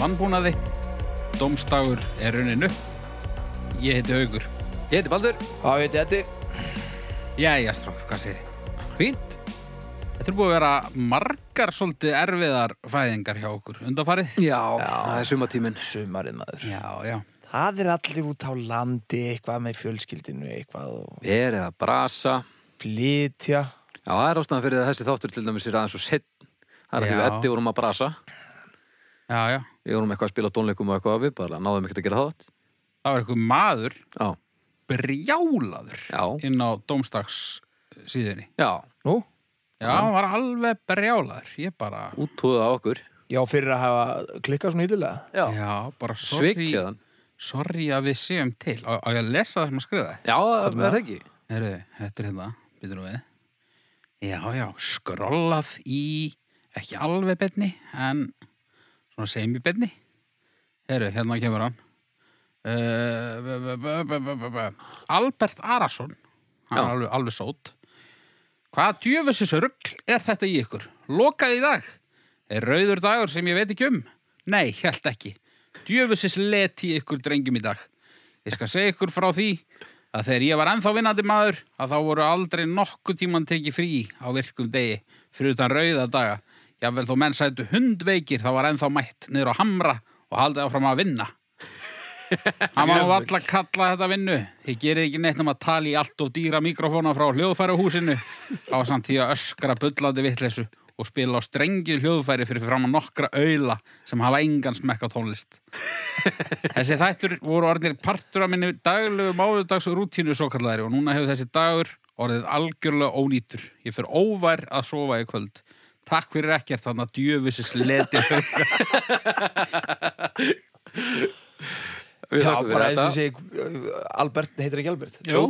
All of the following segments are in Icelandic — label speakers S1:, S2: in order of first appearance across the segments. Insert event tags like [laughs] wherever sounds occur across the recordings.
S1: mannbúnaði. Dómstagur er runnin upp. Ég heiti Haugur.
S2: Ég heiti Baldur,
S3: Já, ég heiti Eddi.
S1: Jæja, strákur, hvað segið þið?
S2: fínt
S1: Þetta er búið að vera margar svolítið erfiðar fæðingar hjá okkur undanfarið.
S2: Já, það er sumatíminn
S3: Sumarið maður.
S1: Já, já.
S3: Það er allir út á landi, eitthvað með fjölskyldinu, eitthvað og
S2: Verið að brasa
S3: flytja.
S2: Já, það er ástæðan fyrir að þessi þáttur til dæmis er aðeins og sett Það er að því við
S1: Já.
S2: Eddi vorum að brasa
S1: Já, já.
S2: Við vorum eitthvað að spila á tónleikum og eitthvað og við bara náðum ekkert að gera það
S1: Það var eitthvað maður
S2: Já,
S1: brjálaður
S2: já,
S1: inn á dómstags síðunni.
S2: já,
S3: Nú?
S1: Já, hann var alveg brjálaður. Ég bara,
S2: úttúða á okkur
S3: Já, fyrir að hafa klikkað svona ídilega.
S2: Já,
S1: já, bara sorry.
S2: svikjaðan
S1: Sorry að við séum til. Á, á ég að lesa það sem að skrifa það?
S2: Já, það er ekki
S1: Heru, þetta er hérna, býtur nú við. Já, já, skrollað í, ekki alveg betni, en svona semi betni. Heru, hérna kemur hann. Uh, b- b- b- b- b- b- b- Albert Arason, hann er
S2: Já.
S1: alveg, alveg sót. Hvað djöfessis rugl er þetta í ykkur? Lokað í dag? Er rauður dagur sem ég veit ekki um? Nei, held ekki. Djöfusins leti ykkur drengjum í dag. Ég skal segja ykkur frá því að þegar ég var ennþá vinnandi maður að þá voru aldrei nokkuð tíman tekið frí á virkum degi fyrir utan rauða daga. Jafnvel þó menn sættu hundveikir þá var ennþá mætt niður á hamra og haldið áfram að vinna. Hann má valla kalla þetta vinnu. Ég gerði ekki neitt um að tala í allt of dýra mikrofóna frá hljóðfæri húsinu á samt því að öskra bullandi vitleysu og spila á strengju hljóðfæri fyrir fram að nokkra auðla sem hafa engan smekk á tónlist. Þessi þættur voru orðinir partur af minni daglegu máludags rútínu svo kallari og núna hefur þessi dagur orðið algjörlega ónýtur. Ég fer óvær að sofa í kvöld. Takk fyrir ekkert þannig að djöfusis leti
S2: Við
S3: Já,
S2: þökkum fyrir
S3: bara eins
S2: þetta
S3: og ég segi, uh, Albert, heitir ekki Albert?
S1: Jú.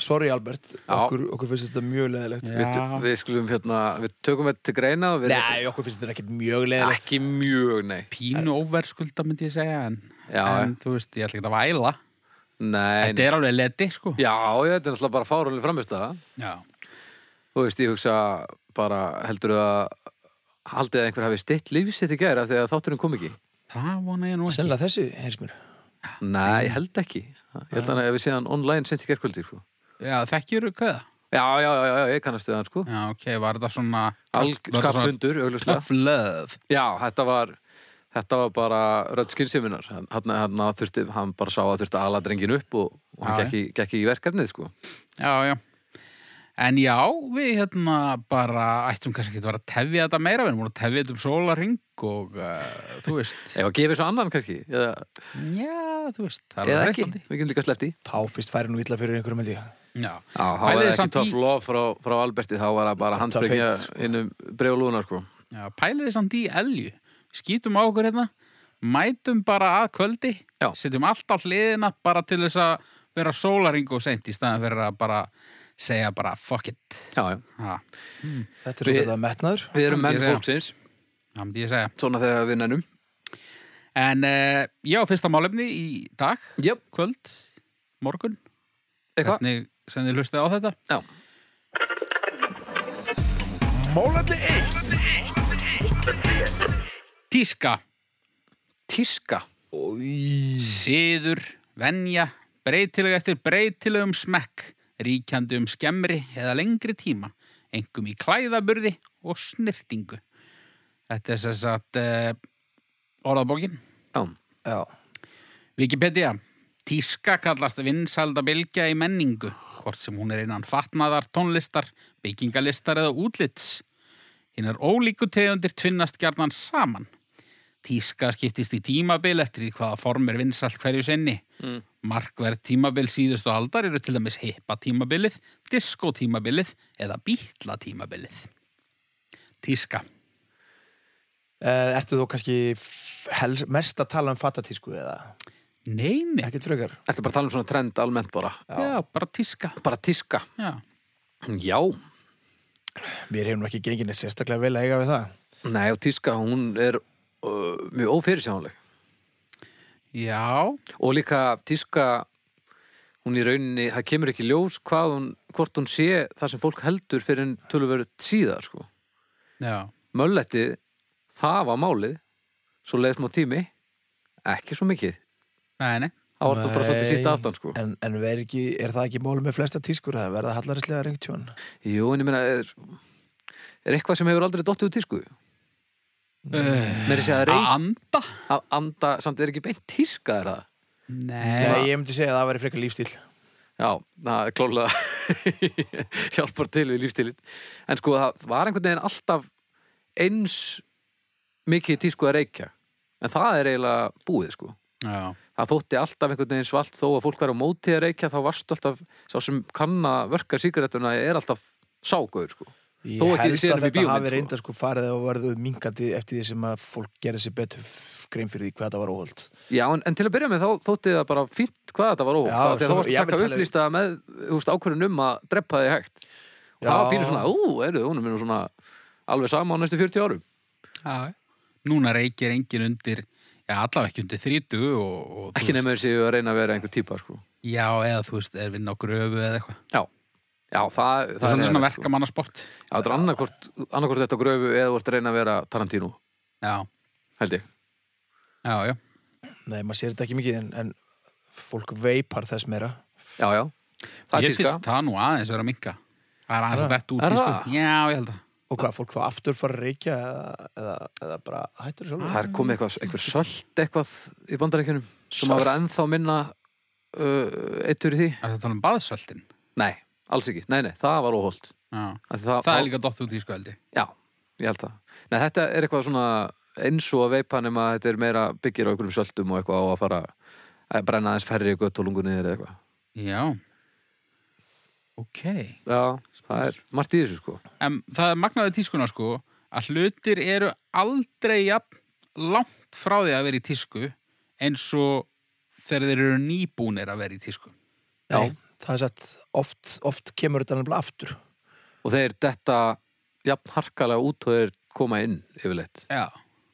S3: Sorry Albert, okkur, okkur finnst þetta mjög leðilegt.
S2: Við, við skulum hérna, við tökum þetta til greina og við
S3: Nei, okkur finnst þetta ekkert mjög leðilegt.
S2: ekki mjög, nei
S1: Pínu óverskulda myndi ég segja en,
S2: Já,
S1: en þú veist, ég ætla ekki að væla.
S2: Nei,
S1: Þetta er alveg leti, sko.
S2: Já, ég, þetta er náttúrulega bara fárunlega framist
S1: Já.
S2: Þú veist, ég hugsa bara heldur að haldið að einhver hafi stitt lífsitt í gæra þegar þátturinn kom ekki
S1: Það vona ég nú ekki.
S3: Sennilega þessi, heyrst mér.
S2: Nei, ég held ekki Ég held hann að við séðan online sitt í gærkvöldi sko.
S1: Já, þekkjur köða.
S2: já, já, já, já, ég kannast við hann sko.
S1: Já, ok, var þetta svona... var þetta svona
S2: Alskapundur, augljóslega
S1: Tough love.
S2: Já, þetta var, þetta var bara rödd skynsiminar hann, hann, hann, þurfti, hann bara sá að þurfti að ala drengin upp og, og hann
S1: Já,
S2: gekk í, gekk í verkefnið sko.
S1: Já, já. En já, við hérna bara ættum kannski ekki að vera að tefja þetta meira, við erum búin að tefja þetta um sólarring og uh, þú veist,
S2: Ef að gefa svo annan kannski eða,
S1: já, þú veist, það
S2: eða
S1: er
S2: ekki,
S1: reistandi.
S2: við getum líka sleppt í
S3: Þá fyrst færi nú illa fyrir einhverjum held ég.
S1: Já,
S2: Já, þá var
S1: Pælið
S2: það
S1: þið
S2: ekki
S1: samt
S2: tough
S1: í-
S2: love frá, frá Alberti, þá var það bara handbrengja
S3: fate, sko.
S2: innum bregulúnar, sko.
S1: já pæliði samt í elju, skýtum á okkur hérna, mætum bara að kvöldi,
S2: Já.
S1: setjum allt á hliðina bara til þess að vera sólarring og sent í staðan fyrir að bara segja bara fuck it.
S2: Já, já.
S1: Já,
S3: Þetta er svo
S2: Við-
S3: þetta metnaður.
S2: Við erum
S1: Já,
S2: menn
S1: ég segja.
S2: fólksins,
S1: það myndi ég segja.
S2: svona þegar við nennum.
S1: En uh, já, fyrsta málefni í dag,
S2: Jöp,
S1: kvöld, morgun.
S2: eitthvað.
S1: hvernig sem þið hlustið á þetta
S2: Já,
S3: Mólandi 1!
S1: Tíska,
S2: tíska.
S1: siður, venja, breytileg eftir breytilegum smekk ríkjandi um skemmri eða lengri tíma engum í klæðaburði og snirtingu Þetta er sess að uh, orðabókin
S2: Já,
S3: Já.
S1: Wikipedia Tíska kallast vinsælda bylgja í menningu, hvort sem hún er innan fatnaðar, tónlistar, byggingalistar eða útlits. Hinn er ólíku tegundir tvinnast gjarnan saman. Tíska skiptist í tímabil eftir því hvaða form er vinsælt hverju sinni. Mm. Markverð tímabil síðustu aldar eru til dæmis hippa tímabilið, disko tímabilið eða bítla tímabilið. Tíska.
S3: Eh, Ertu þú kannski f- hel- mest að tala um fatatísku eða?
S1: Nei, nei.
S3: Ekkert frekar.
S2: þetta er bara að tala um svona trend almennt bara.
S1: Já, bara tíska.
S2: Bara tíska.
S1: Já.
S2: Já,
S3: Mér hefur nú ekki gengið neitt sérstaklega vel að eiga við það.
S2: nei og tíska, hún er uh, mjög ófyrirsjónleg.
S1: Já.
S2: Og líka tíska, hún í rauninni, það kemur ekki ljós hvað hún, hvort hún sé það sem fólk heldur fyrir en tölverið síðar, sko.
S1: Já.
S2: Möllettið, það var málið, svo leiðist má tími ekki svo mikið
S1: Nei, nei.
S2: þá var þetta bara
S3: Nei.
S2: svolítið sitt aftan sko
S3: En, en er, ekki, er það ekki málum með flesta tískur að verða hallarislega reynt tjón?
S2: Jú, en ég meina, er, er eitthvað sem hefur aldrei dottið út tísku?
S1: Uh,
S2: Mér er að segja að
S1: að
S2: reyk
S1: anda?
S2: að anda, samt er ekki beint tíska er það?
S1: Nei.
S3: Nei, ég myndi segja að það væri frekar lífstíl.
S2: Já, það er klólega [laughs] hjálpar til við lífstilin en sko, það var einhvern veginn alltaf eins mikið tísku að reykja en það er eiginlega búið sko
S1: Já.
S2: það þótti alltaf einhvern veginn svalt þó að fólk væri á móti að reykja þá varst alltaf sá sem kann að verka sígarettuna er alltaf ságauður sko
S3: Ég
S2: Þó ekki
S3: held að
S2: séð um í
S3: þetta
S2: bíómynd,
S3: hafi
S2: sko.
S3: reynda sko farið og verðuð minkandi eftir því sem að fólk gerir sér betur f- grein fyrir því hvað það var óholt.
S2: Já, en, en til að byrja með þá þótti það bara fínt hvað þetta var óvægt,
S3: Já,
S2: þá því
S3: svo-
S2: að það varst
S3: ég
S2: að taka
S3: myndi tala við-
S2: upplýsta með úst, ákvörðun um að drepa þig hægt og það
S3: Já.
S2: var pínu svona, ú, eru, hún er mér svona alveg sama á næstu 40 árum
S1: Já. Núna reykir engin undir, já, allavega ekki undir 30 og... og þú
S2: ekki
S1: veist-
S2: nefnir séu að reyna að vera einhver típa sko.
S1: Já, eða þú veist, er vinn á gröfu eða eitthvað.
S2: Já, já,
S1: Það
S2: það,
S1: er svona
S2: eðlilegt, sko.
S1: verkamannasport.
S2: Já, það er annarkvort, annarkvort þetta á gröfu eða þú ert að reyna að vera Tarantino,
S1: Já,
S2: held ég
S1: já, já.
S3: Nei, maður sér þetta ekki mikið en, en fólk veipar þess meira.
S2: Já, já, það er
S1: ég
S2: tíska
S1: finnst það nú aðeins vera að minka. Það er aðeins að þetta út
S2: Er
S1: í
S2: það?
S1: sko. Já, ég held að.
S3: Og hvað, fólk þá aftur fara að reykja eða, eða, eða bara hættur sjálfur?
S2: Það er komið eitthvað, einhver sölt eitthvað í bandarækjunum sem að vera ennþá minna uh, eittur í því
S1: Það er að tala um baðsöldin.
S2: Nei, alls ekki, nei, nei, það var óholt
S1: Já.
S2: Það,
S1: Það er líka dott út í sko, held ég.
S2: Já, ég held það. Nei, þetta er eitthvað svona eins og að veipa nema að þetta er meira byggir á einhverjum söldum og eitthvað á að fara að brenna aðeins færri göttólungu niður eða eitthvað.
S1: Já. Ok.
S2: Já, það er margt í þessu sko.
S1: En það er magnaði tískuna sko að hlutir eru aldrei jafn langt frá því að vera í tísku eins og þegar þeir eru nýbúnir að vera í tísku.
S3: Já, það er satt, oft, oft kemur þetta nefnilega aftur.
S2: Og þeir detta jafn harkalega út og þeir koma inn yfirleitt.
S1: Já.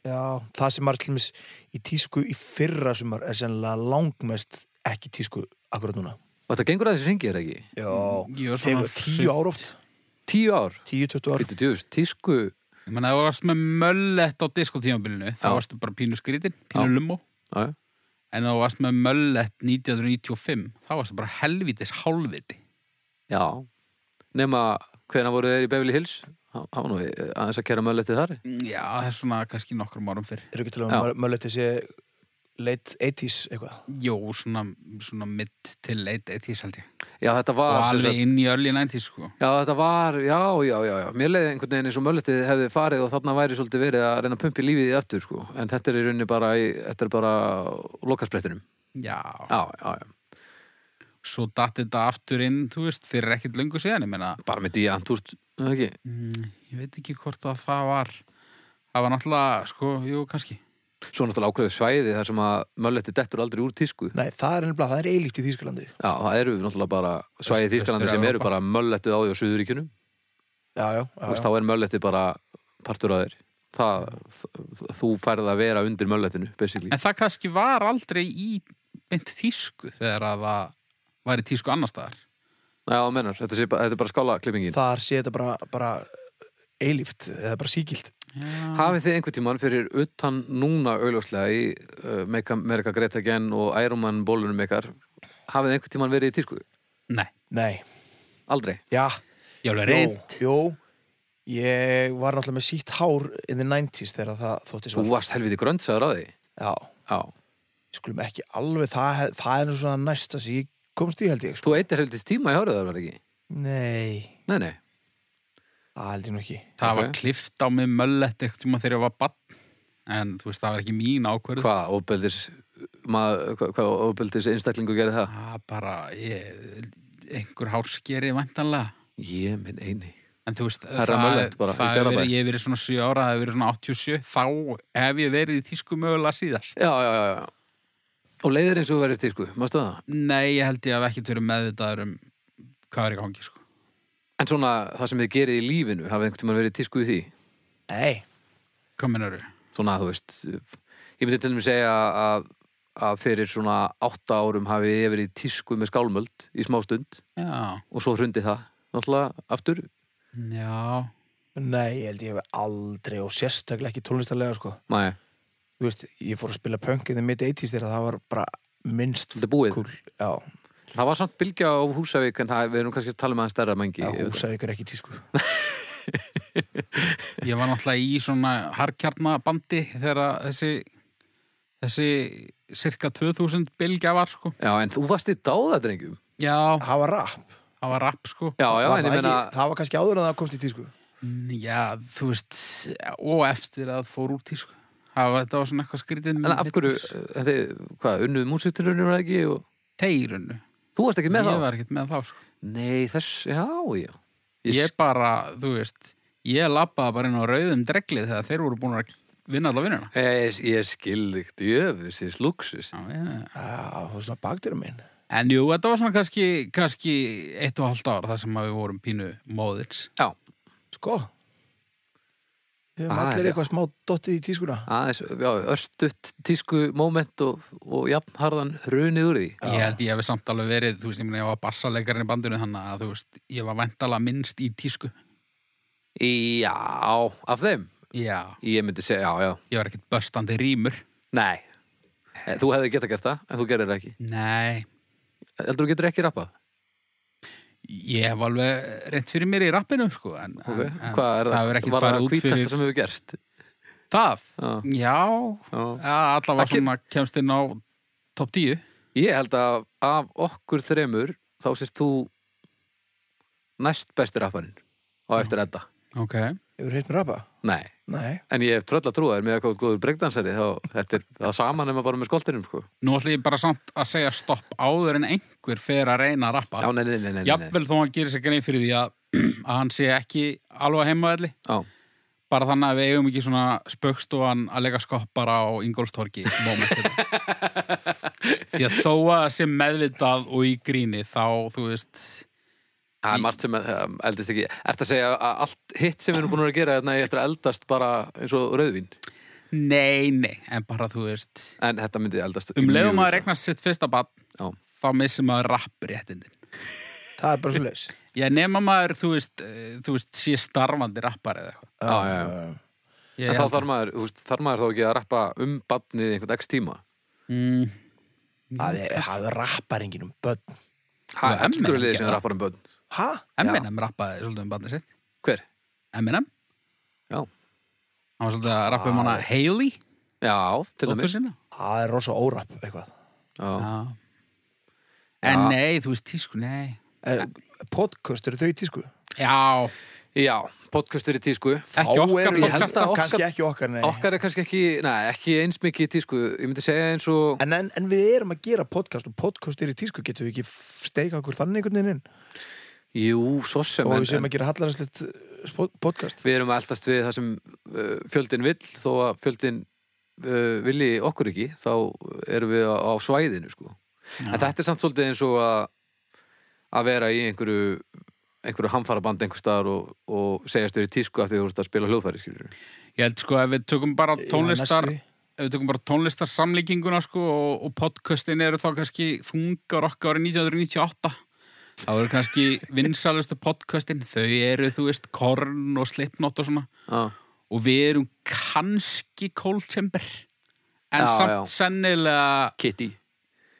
S3: Já, það sem var allmis í tísku í fyrra sumar er sennilega langmest ekki tísku akkurat núna.
S2: Og þetta gengur aðeins ringið er ekki?
S3: Já,
S2: Mm,
S1: Ég er svona
S3: tegur tíu ár oft,
S2: Tíu ár?
S3: tíu, tuttu ár.
S2: Býttu djúðus, tísku,
S1: Ég menna að þú varst með möllett á diskotímabilinu, þá
S2: Já.
S1: varstu bara pínu skrítin, pínu
S2: Já.
S1: lummo.
S2: já,
S1: En ef þú varst með möllett 1995, þá varstu bara helvitis hálfviti.
S2: já. Nema, hvena voru þeir í Beverly Hills? Það það var nú aðeins að kæra mögulegtið þar.
S1: Já, það er svona kannski nokkrum árum fyrr.
S3: Er ekki til
S2: Já.
S3: að möllöti sé late 80s eitthvað?
S1: Jó, svona, svona mitt til leit eitt hís held ég.
S2: Já, þetta
S1: Og
S2: var... sem sagt-
S1: alveg inn í early 90s sko.
S2: Já, þetta var, já, já, já, já. Mér leiði einhvern veginn eins og möllutið hefði farið og þarna væri svolítið verið að reyna að pumpi lífið í aftur, sko. En þetta er í rauninni bara, í, þetta er bara lokasprettinum.
S1: Já.
S2: Já, já, já.
S1: svo datt þetta aftur inn, þú veist, fyrir ekkert löngu síðan, ég meina,
S2: Bara með díantúrt, eða ekki?
S1: mm, ég veit ekki hvort að það var, það var náttúrulega, sko, jú, kannski.
S2: Svo náttúrulega ákveðið svæði þar sem að möllutið dettur aldrei úr tísku.
S3: Nei, það er nefnilega, það er eilíft í Þýskalandi.
S2: Já, það eru náttúrulega bara svæði í
S1: Austur-
S2: Þýskalandi sem eru
S1: Austur-Evrópa.
S2: bara möllutið á því á Suðuríkjunum.
S3: Já, já,
S2: Þú
S3: já. já.
S2: veist, Þá er möllutið bara partur að þér. Það, þ- þú færð að vera undir möllutinu, basically.
S1: En það kannski var aldrei í beint tísku þegar að það var í tísku annar staðar.
S2: Já, mennar, þetta, sé bara- þetta er bara skála
S3: Þar sé þetta bara, bara eilíft, eða bara síkilt.
S2: Hafið þið einhvern tímann fyrir utan núna augljóslega í uh, Make America Great Again og Iron Man bólunum ykkar hafið þið einhvern tímann verið í tísku?
S1: Nei,
S3: Nei,
S2: Aldrei?
S3: já,
S1: ég alveg
S3: jú,
S1: reynd.
S3: jú. Ég var náttúrulega með sítt hár in the 90s þegar það þótti
S2: Þú
S3: svart.
S2: varst helviti gröndsaður á því?
S3: Já,
S2: Já.
S3: skulum ekki alveg, það, hef- það er nú svona næsta sem ég komst í held ég, sko.
S2: Þú eittir helvitis tíma í hárið þar var ekki?
S3: Nei,
S2: Nei, nei.
S3: það held ég nú ekki.
S1: Það
S2: Ok.
S1: var klift á mig möllett eitthvað tíma þegar ég var bann, en þú veist, það var ekki mín ákvörð.
S2: Hvað óbeldis, mað, hvað, hvað óbeldis einstaklingur gerði það?
S1: Það bara, ég, einhver hárskeri vantanlega.
S2: Ég minn eini.
S1: En þú veist,
S2: Herra Möllett bara, í
S1: það hefur
S2: Garðabæ.
S1: verið, ég hef verið svona 7 ára, það hefur verið svona 87, þá hef ég verið í tísku mögulega síðast.
S2: Já, já, já. já. Og leiðir eins og verið í tísku, mástu það?
S1: Nei, ég held ég hef ekkert verið meðvitaður um hvað er í gangi, sko.
S2: En svona það sem þið gerir í lífinu, hafið einhvern tímann verið í tísku í því?
S3: Nei,
S1: Komin eru.
S2: svona, þú veist ég myndi til þeim segja að, að fyrir svona átta árum hafi ég verið í tísku með skálmöld í smá stund
S1: Já,
S2: og svo hrundi það náttúrulega aftur
S1: já,
S3: nei, ég held ég hef aldrei og sérstaklega ekki tónlistarlega, sko.
S2: Nei.
S3: þú veist, ég fór að spila punk in the mid-80s þegar það var bara minnst
S2: Þetta búið.
S3: cool. Já,
S2: Það var samt bylgja á Húsavík en það, við erum kannski að tala með hann stærra mengi
S3: já
S2: ég veit
S3: húsaði ykkur ekki í tísku.
S2: [laughs]
S1: Ég var náttúrulega í svona harkjarnabandi þegar að þessi, þessi cirka 2000 bylgja var, sko.
S2: það. Já, en þú varst í dáðadrengjum
S1: Já,
S3: Það var rap.
S1: það var rapp, sko.
S2: Já, já,
S3: var
S2: en
S3: það,
S2: ég meina
S3: ekki, það var kannski áður en það komst í tísku.
S1: Já, þú veist, og eftir að fór út í, sko. Það var, þetta var svona eitthvað skrítið
S2: En af hverju, eh, þið, hvað, unnuð músiturunum var ekki og
S1: Teirunnu.
S2: þú varst ekki
S1: Ég
S2: með þá?
S1: var ekkert með þá, sko.
S2: Nei, þess, já, já Ég,
S1: Ég bara, þú veist, ég lappaði bara inn á rauðum dreglið þegar þeir voru búin að vinna alla vinnuna.
S2: ég, ég skilði djöfis, ég slúksus
S1: Já, já, já.
S3: Já, það var svona bakdýra minn.
S1: En jú, þetta var svona kannski, kannski eitt og halvt ár þar sem að við vorum pínu móðins.
S2: Já,
S3: Sko. Við höfum
S2: Ah,
S3: allir
S2: já.
S3: eitthvað smá dottið í tískuna.
S2: aðeins, já, örstutt tísku moment og, og jafnharðan runið úr því
S1: Ég held ég hefði samt alveg verið, þú veist, ég meina ég var bassalekarinn í bandinu þannig að þú veist, ég var væntalega minnst í tísku.
S2: Já, af þeim
S1: Já,
S2: Ég myndi segja, já, já,
S1: ég var ekkert böstandi rýmur.
S2: nei Eh, Þú hefði geta gert það, en þú gerir það ekki
S1: Nei,
S2: Heldur þú getur ekki rappað?
S1: ég hef alveg reynt fyrir mér í rappinu, sko, en,
S2: Ok,
S1: en, en
S2: Hvað er það?
S1: hefur ekkert
S2: Var það
S1: farið út
S2: hvítasta
S1: fyrir
S2: sem hefur gerst?
S1: það.
S2: Já,
S1: Já,
S2: já.
S1: allavega
S2: Ekki-
S1: svona kemst inn á topp 10.
S2: Ég held að af okkur þremur þá sérst þú næst besti rapparinn á eftir þetta.
S1: Ok,
S3: Hefur heitt með rapa?
S2: Nei,
S3: Nei.
S2: en ég hef tröll að trúa þér með eitthvað góður breakdansari þá þetta er það saman nema bara með skoltinum sko.
S1: nú ætlum ég bara samt að segja stopp áður en einhver fer að reyna að rappa.
S2: Já, nei, nei, nei, nei, nei, nei.
S1: Jafnvel þó hann gerir sér grein fyrir því að, [clears throat] að hann sé ekki alveg heimaðli
S2: Já,
S1: bara þannig að við eigum ekki svona spöggstofan að leika skoppara á Ingolstorki
S2: [laughs]
S1: moment. því að þó að það sé meðvitað og í gríni þá þú veist
S2: það er margt sem um, eldist ekki. Ert að segja að allt hitt sem við erum búin að vera að gera þarna ég eftir að eldast bara eins og rauðvín
S1: nei, nei, en bara þú veist
S2: en þetta myndi eldast
S1: um leiðum að
S2: mjög illa.
S1: regnast sitt fyrsta bann
S2: Já.
S1: þá missir maður rappréttindin
S3: Það er bara svo leis.
S1: ég nema maður, þú veist, eh, þú veist sé starfandi rappar eða eitthvað
S2: [laughs] Já, já, já.
S3: Um,
S1: Ég
S2: En þá
S1: held-
S2: þarf maður, þú veist, þarf maður þá ekki að rappa um badnið einhvern x tíma
S1: mm,
S3: Það er, það er rapparingin um börn.
S2: Það er
S1: Já, M&M
S2: heldur liðið sem
S1: gera.
S2: rappar um börn
S3: Ha?
S1: Eminem rappaði svolítið um bannið sitt
S2: Hver?
S1: Eminem,
S2: Já,
S1: hann var svolítið að rappa um hana Hailey,
S2: já til
S1: dóttur
S2: dæmis
S1: sína
S3: Það er rosa órapp eitthvað.
S2: Já,
S1: Já. En
S2: Já.
S1: nei, þú veist tísku, nei.
S3: Er, podcast, eru þau í tísku?
S1: Já,
S2: já podcast er í tísku
S1: ekki
S3: Þá
S1: okkar
S3: eru-
S2: ég held
S1: podcast.
S2: að
S3: Kannski
S2: okkar-
S3: ekki okkar, nei.
S2: Okkar er kannski ekki, nei, ekki eins mikið í tísku Ég myndi segja eins og
S3: En, en, en við erum að gera podcast og podcast er í tísku, getum við ekki steika okkur þannig einhvern veginn inn
S2: Jú, svo sem,
S3: og við
S2: en,
S3: séum að gera hallararslegt podcast
S2: en Við erum að eldast við það sem uh, fjöldin vill Þó að fjöldin uh, vilji okkur ekki Þá erum við á, á svæðinu, sko En þetta er samt svolítið eins og að að vera í einhverju einhverju hamfaraband einhver staðar og, og segjast þér í tísku af því þú ert að spila hljóðfæri skilur
S1: Ég held sko ef við tökum bara tónlistar,
S3: næstu.
S1: ef við tökum bara tónlistar samlíkinguna sko og, og podcastin eru þá kannski þungar okkar árið 1998. Það voru kannski vinsalustu podcastin, þau eru, þú veist, Korn og Slipknot og svona.
S2: ah.
S1: Og við erum kannski Cold Chamber, en
S2: Já,
S1: samt
S2: já.
S1: sennilega,
S2: Kitty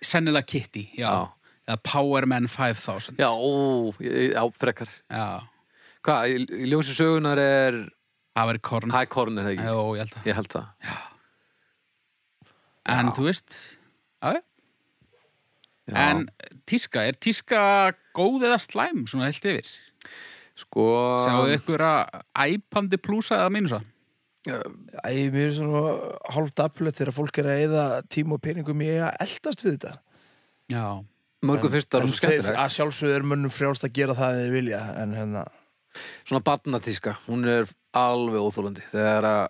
S1: sennilega Kitty, já.
S2: Já.
S1: Eða Power Man 5000.
S2: Já, ó, ég- já, frekar
S1: já.
S2: Hvað, í- í ljósi sögunar er
S1: Það væri korn.
S2: High Corn er það ekki?
S1: Jó, ég held það.
S2: Ég held það
S1: En þú veist, já, já.
S2: Já.
S1: En tíska, er tíska góð eða slæm, svona held yfir?
S2: Sko
S1: Sjáðu ykkur að æpandi plúsa eða mínusa?
S3: Æ, mér er svona hálft aflöð þegar fólk er að eyða tíma og peningum í að eldast við þetta
S1: Já.
S2: Mörgum finnst það
S3: En
S2: svo skemmtilegt
S3: að sjálfsögðu er mönnum frjálst að gera það en þið vilja en hérna,
S2: Svona barnatíska, hún er alveg óþólandi Þegar að,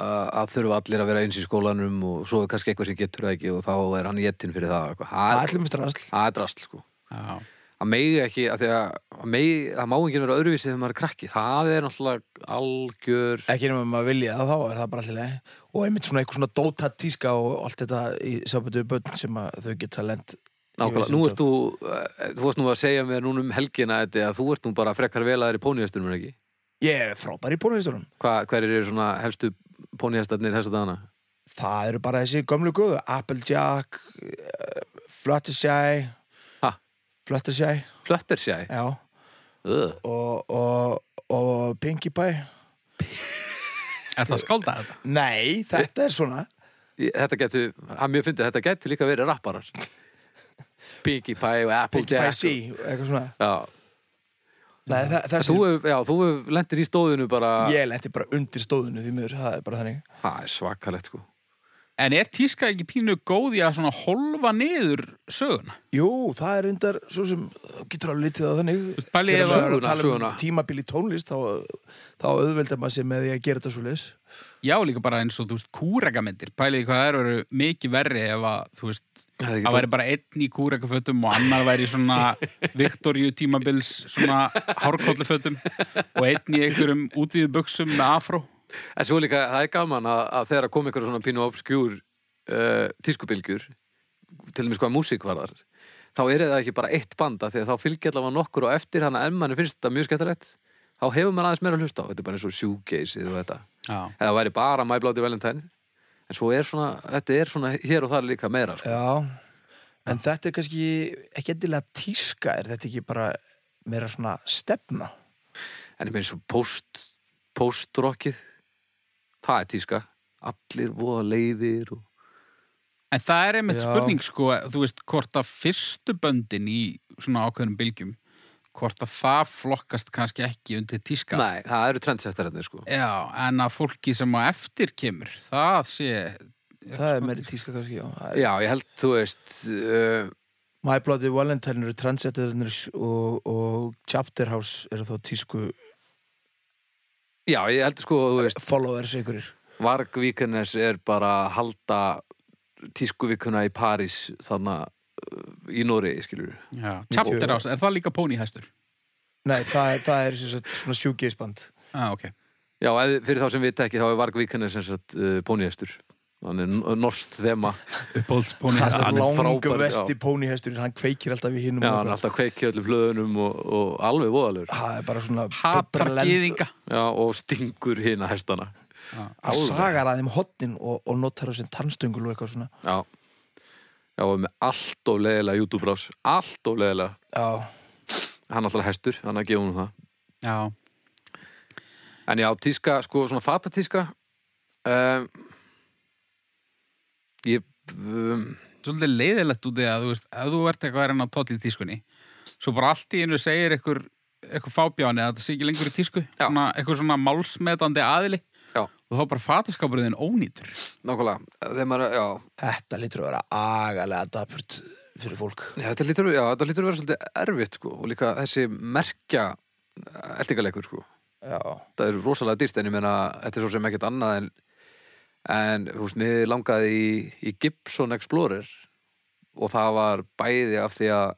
S2: að, að þurfa allir að vera eins í skólanum og svo er kannski eitthvað sem getur það ekki og þá er hann jettinn fyrir það og eitthvað.
S3: það
S2: Það
S3: er
S2: er-
S3: allir með strasl
S2: það er drast sko
S1: Já.
S2: Það megi ekki, að því að það megi- það má enginn vera öðruvísi þegar maður er krakki. Það er náttúrulega algjör...
S3: ekki nema maður vilja það þá er það bara allir leið og einmitt svona eitthvað svona dóta tíska og allt þetta í sábætu börn sem að þau geta lent í
S2: Nákvæmlega,
S3: vesen
S2: nú
S3: út
S2: ert þú, eh, þú varst nú að segja mér núna um helgina þetta að þú ert nú bara frekkar velaðir í póníhestunum, er ekki?
S3: af. ég er frábær í bónuðistunum
S2: Hva, hverjir eru svona helstu póníhestarnir þess að dana?
S3: það eru bara þessi gömlu góðu Applejack, eh, Fluttershy
S2: Ha?
S3: Fluttershy,
S2: Fluttershy
S3: já
S2: Ugh.
S3: og, og, og Pinkie Pie
S1: Er það skáldað þetta?
S3: Nei, þetta er svona
S2: Ég- Þetta getur, hann mjög fyndi, þetta getur líka verið rapparar [laughs] Biggie Pie og
S3: Pinkie Pie
S2: Applejack
S3: C, eitthvað svona
S2: Já,
S3: Nei, það, það
S2: þú hef, já, þú hef lendir í stóðinu bara
S3: Ég lendi bara undir stóðinu því miður, það er bara þannig
S2: Það er svakalegt sko
S1: En er tíska ekki pínu góð í að svona holfa niður söguna?
S3: Jú, það er reyndar svo sem þú getur alveg litið á þannig
S1: pælið
S3: Þegar
S1: ef-
S3: maður er að
S2: Söguna,
S3: tala um
S2: söguna.
S3: Tímabil í tónlist, þá, þá auðveldar maður sér með því að gera þetta svo leis
S1: Já, líka bara eins og, þú veist, kúrekamindir. Pæliði hvað það eru mikið verri ef að, þú veist,
S2: Það er ekki
S1: það væri bara einn í kúrekafötum og annar væri í svona Victorju tímabils svona hárkollufötum og einn í einhverjum útvíðu buksum með afró.
S2: En svo líka, það er gaman að, að þegar að koma ykkur svona pínu obskjúr uh, tískubilgjur, til dæmis hvað músík varðar, þá er það ekki bara eitt banda því að þá fylgja allavega nokkur og eftir þannig að ef manni finnst þetta mjög skemmtilegt þá hefur mann aðeins meira að hlusta á, þetta er bara eins og shoegaze og þetta,
S1: Já.
S2: eða væri bara My Bloody Valentine, en svo er svona þetta er svona hér og þar líka meira sko.
S3: Já, en þetta er kannski ekki endilega tíska, er þetta ekki bara meira svona stefna
S2: en ég meina svo post postrockið, það er tíska allir voða leiðir og
S1: En það er einmitt
S3: Já.
S1: spurning sko, þú veist, hvort að fyrstu böndin í svona ákveðnum bylgjum, hvort að það flokkast kannski ekki undir tíska.
S2: Nei, það eru trendsettararnir sko
S1: Já, en að fólki sem á eftir kemur, það sé...
S3: Það er meira tíska kannski, já Það er-
S2: Já, ég held, þú veist uh,
S3: My Bloody Valentine eru Transetterner og, og Chapter House eru þá tísku
S2: Já, ég held sko, þú veist,
S3: followers ykkurir
S2: Vargvíkernes er bara að halda tískuvíkuna í París þannig uh, í Nóri, skilur við.
S1: Já, chapter house, er það líka póníhæstur?
S3: Nei, það, er- það er sem sagt svona sjúkisband
S1: Já, ok.
S2: Já, eð, fyrir þá sem við ekki, þá er Vargvíkernes sem sagt uh, póníhestur. Þannig norst þema.
S1: Uppbólds
S3: Það
S2: hann
S3: er
S2: er
S3: langu
S2: frábær,
S3: vesti
S2: já.
S3: pónihesturinn, hann kveikir alltaf í hinum
S2: Já,
S3: og
S2: hann er
S3: eitthvað.
S2: alltaf kveiki í öllum hlöðunum og, og alveg voðalur.
S3: Það er bara svona
S1: Hatar
S3: brelend-
S1: gýðinga.
S2: Já, og stingur hina hestana.
S3: Hann sagar að þeim hotnin og, og notar á sinn tannstöngul og eitthvað svona
S2: Já. Já, og með allt of leðilega YouTube-brás. Allt of leðilega.
S3: Já,
S2: Hann er alltaf hestur, hann er að gefa hún það.
S1: Já,
S2: En já, tíska, sko, svona fatatíska um, Ég um,
S1: svolítið leiðilegt út í að, þú veist, ef þú ert eitthvað að reyna að tóll í tískunni, svo bara allt í einu segir eitthvað, eitthvað fábjáni að það sé ekki lengur í tísku,
S2: Já.
S1: svona, eitthvað svona málsmetandi aðili
S2: Já,
S1: og þá er bara fataskapurðin ónýtur.
S2: nákvæmlega Þegar maður, já,
S3: þetta lítur að vera agalega dapurt fyrir fólk
S2: já, þetta lítur, já, þetta lítur að vera svolítið erfitt, sko Og líka þessi merkja eldingaleikur, sko
S3: Já,
S2: Það er rosalega dýrt, en ég meina Þetta er svo sem ekkert annað en En, þú veist, mér langaði í, í Gibson Explorer Og það var bæði af því að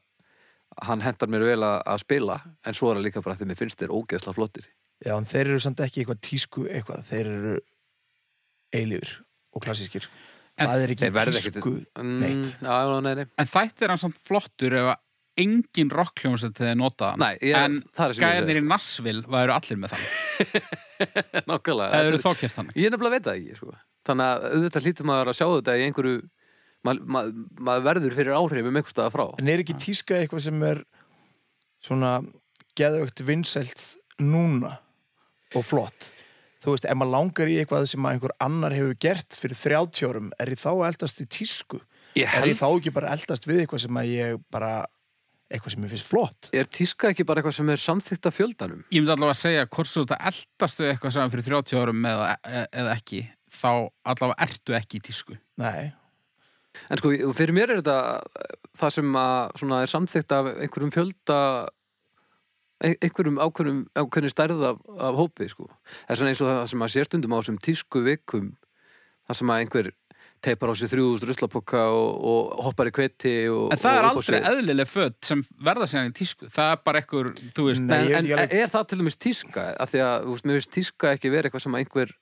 S2: Hann hentar mér vel að, að spila En svo er það líka bara af því að mér finnst þér ógeðsla flottir
S3: Já en þeir eru samt ekki eitthvað tísku eitthvað Þeir eru eilífur og klassískir
S1: En
S3: Það er ekki
S2: þeir verða ekkit-
S3: tísku
S2: Mm,
S3: neitt
S2: já, já, nei, nei
S1: En þættir hann samt flottur ef að engin rockljónsett hefði notað hann.
S2: Nei, ég-
S1: en
S2: það er sem ég segi,
S1: gæðnir í Nassville væru allir með þann.
S2: [laughs] Nákvæmlega
S1: Það eru
S2: Þetta
S1: þá
S2: er-
S1: keft þannig.
S2: Ég er nefnilega veit það ekki sko. Þannig að auðvitað hlýtur maður að sjá þetta í einhverju Maður ma ma verður fyrir áhrifum einhvers staða frá
S3: En er ekki tíska eitthvað sem er svona geðvögt vinsælt núna og flott? Þú veist, ef maður langar í eitthvað sem að einhver annar hefur gert fyrir 30 árum, er ég þá að eldast í tísku? Er
S2: Ég
S3: ég
S2: held
S3: þá ekki bara að eldast við eitthvað sem að ég bara, eitthvað sem ég finnst flott?
S2: Er tíska ekki bara eitthvað sem er samþykta fjöldanum?
S1: Ég myndi allavega að segja hvort svo þetta eldast við eitthvað saman fyrir 30 árum eða, eða ekki, þá allavega ertu ekki í tísku.
S3: Nei.
S2: En sko, fyrir mér er þetta eh, það sem að svona er samþykta af einhverjum fjölda ein- einhverjum ákveðnum ákveðnum stærð af, af hópi sko. Það er svona eins og það sem að sérstundum á sem tísku vikum þar sem að einhver teipar á sig 3000 ruslapokka og, og hoppar í kveti og,
S1: En það
S2: og
S1: er
S2: upp á
S1: aldrei
S2: svið.
S1: eðlileg föt sem verða síðan í tísku. Það er bara einhver, þú veist,
S3: Nei,
S1: en-
S3: ég veit
S2: en,
S3: ekki
S2: en
S3: alveg-
S2: er það til dæmis tíska? Af því að, þú veist, mér veist tíska ekki verið eitthvað sem að einhver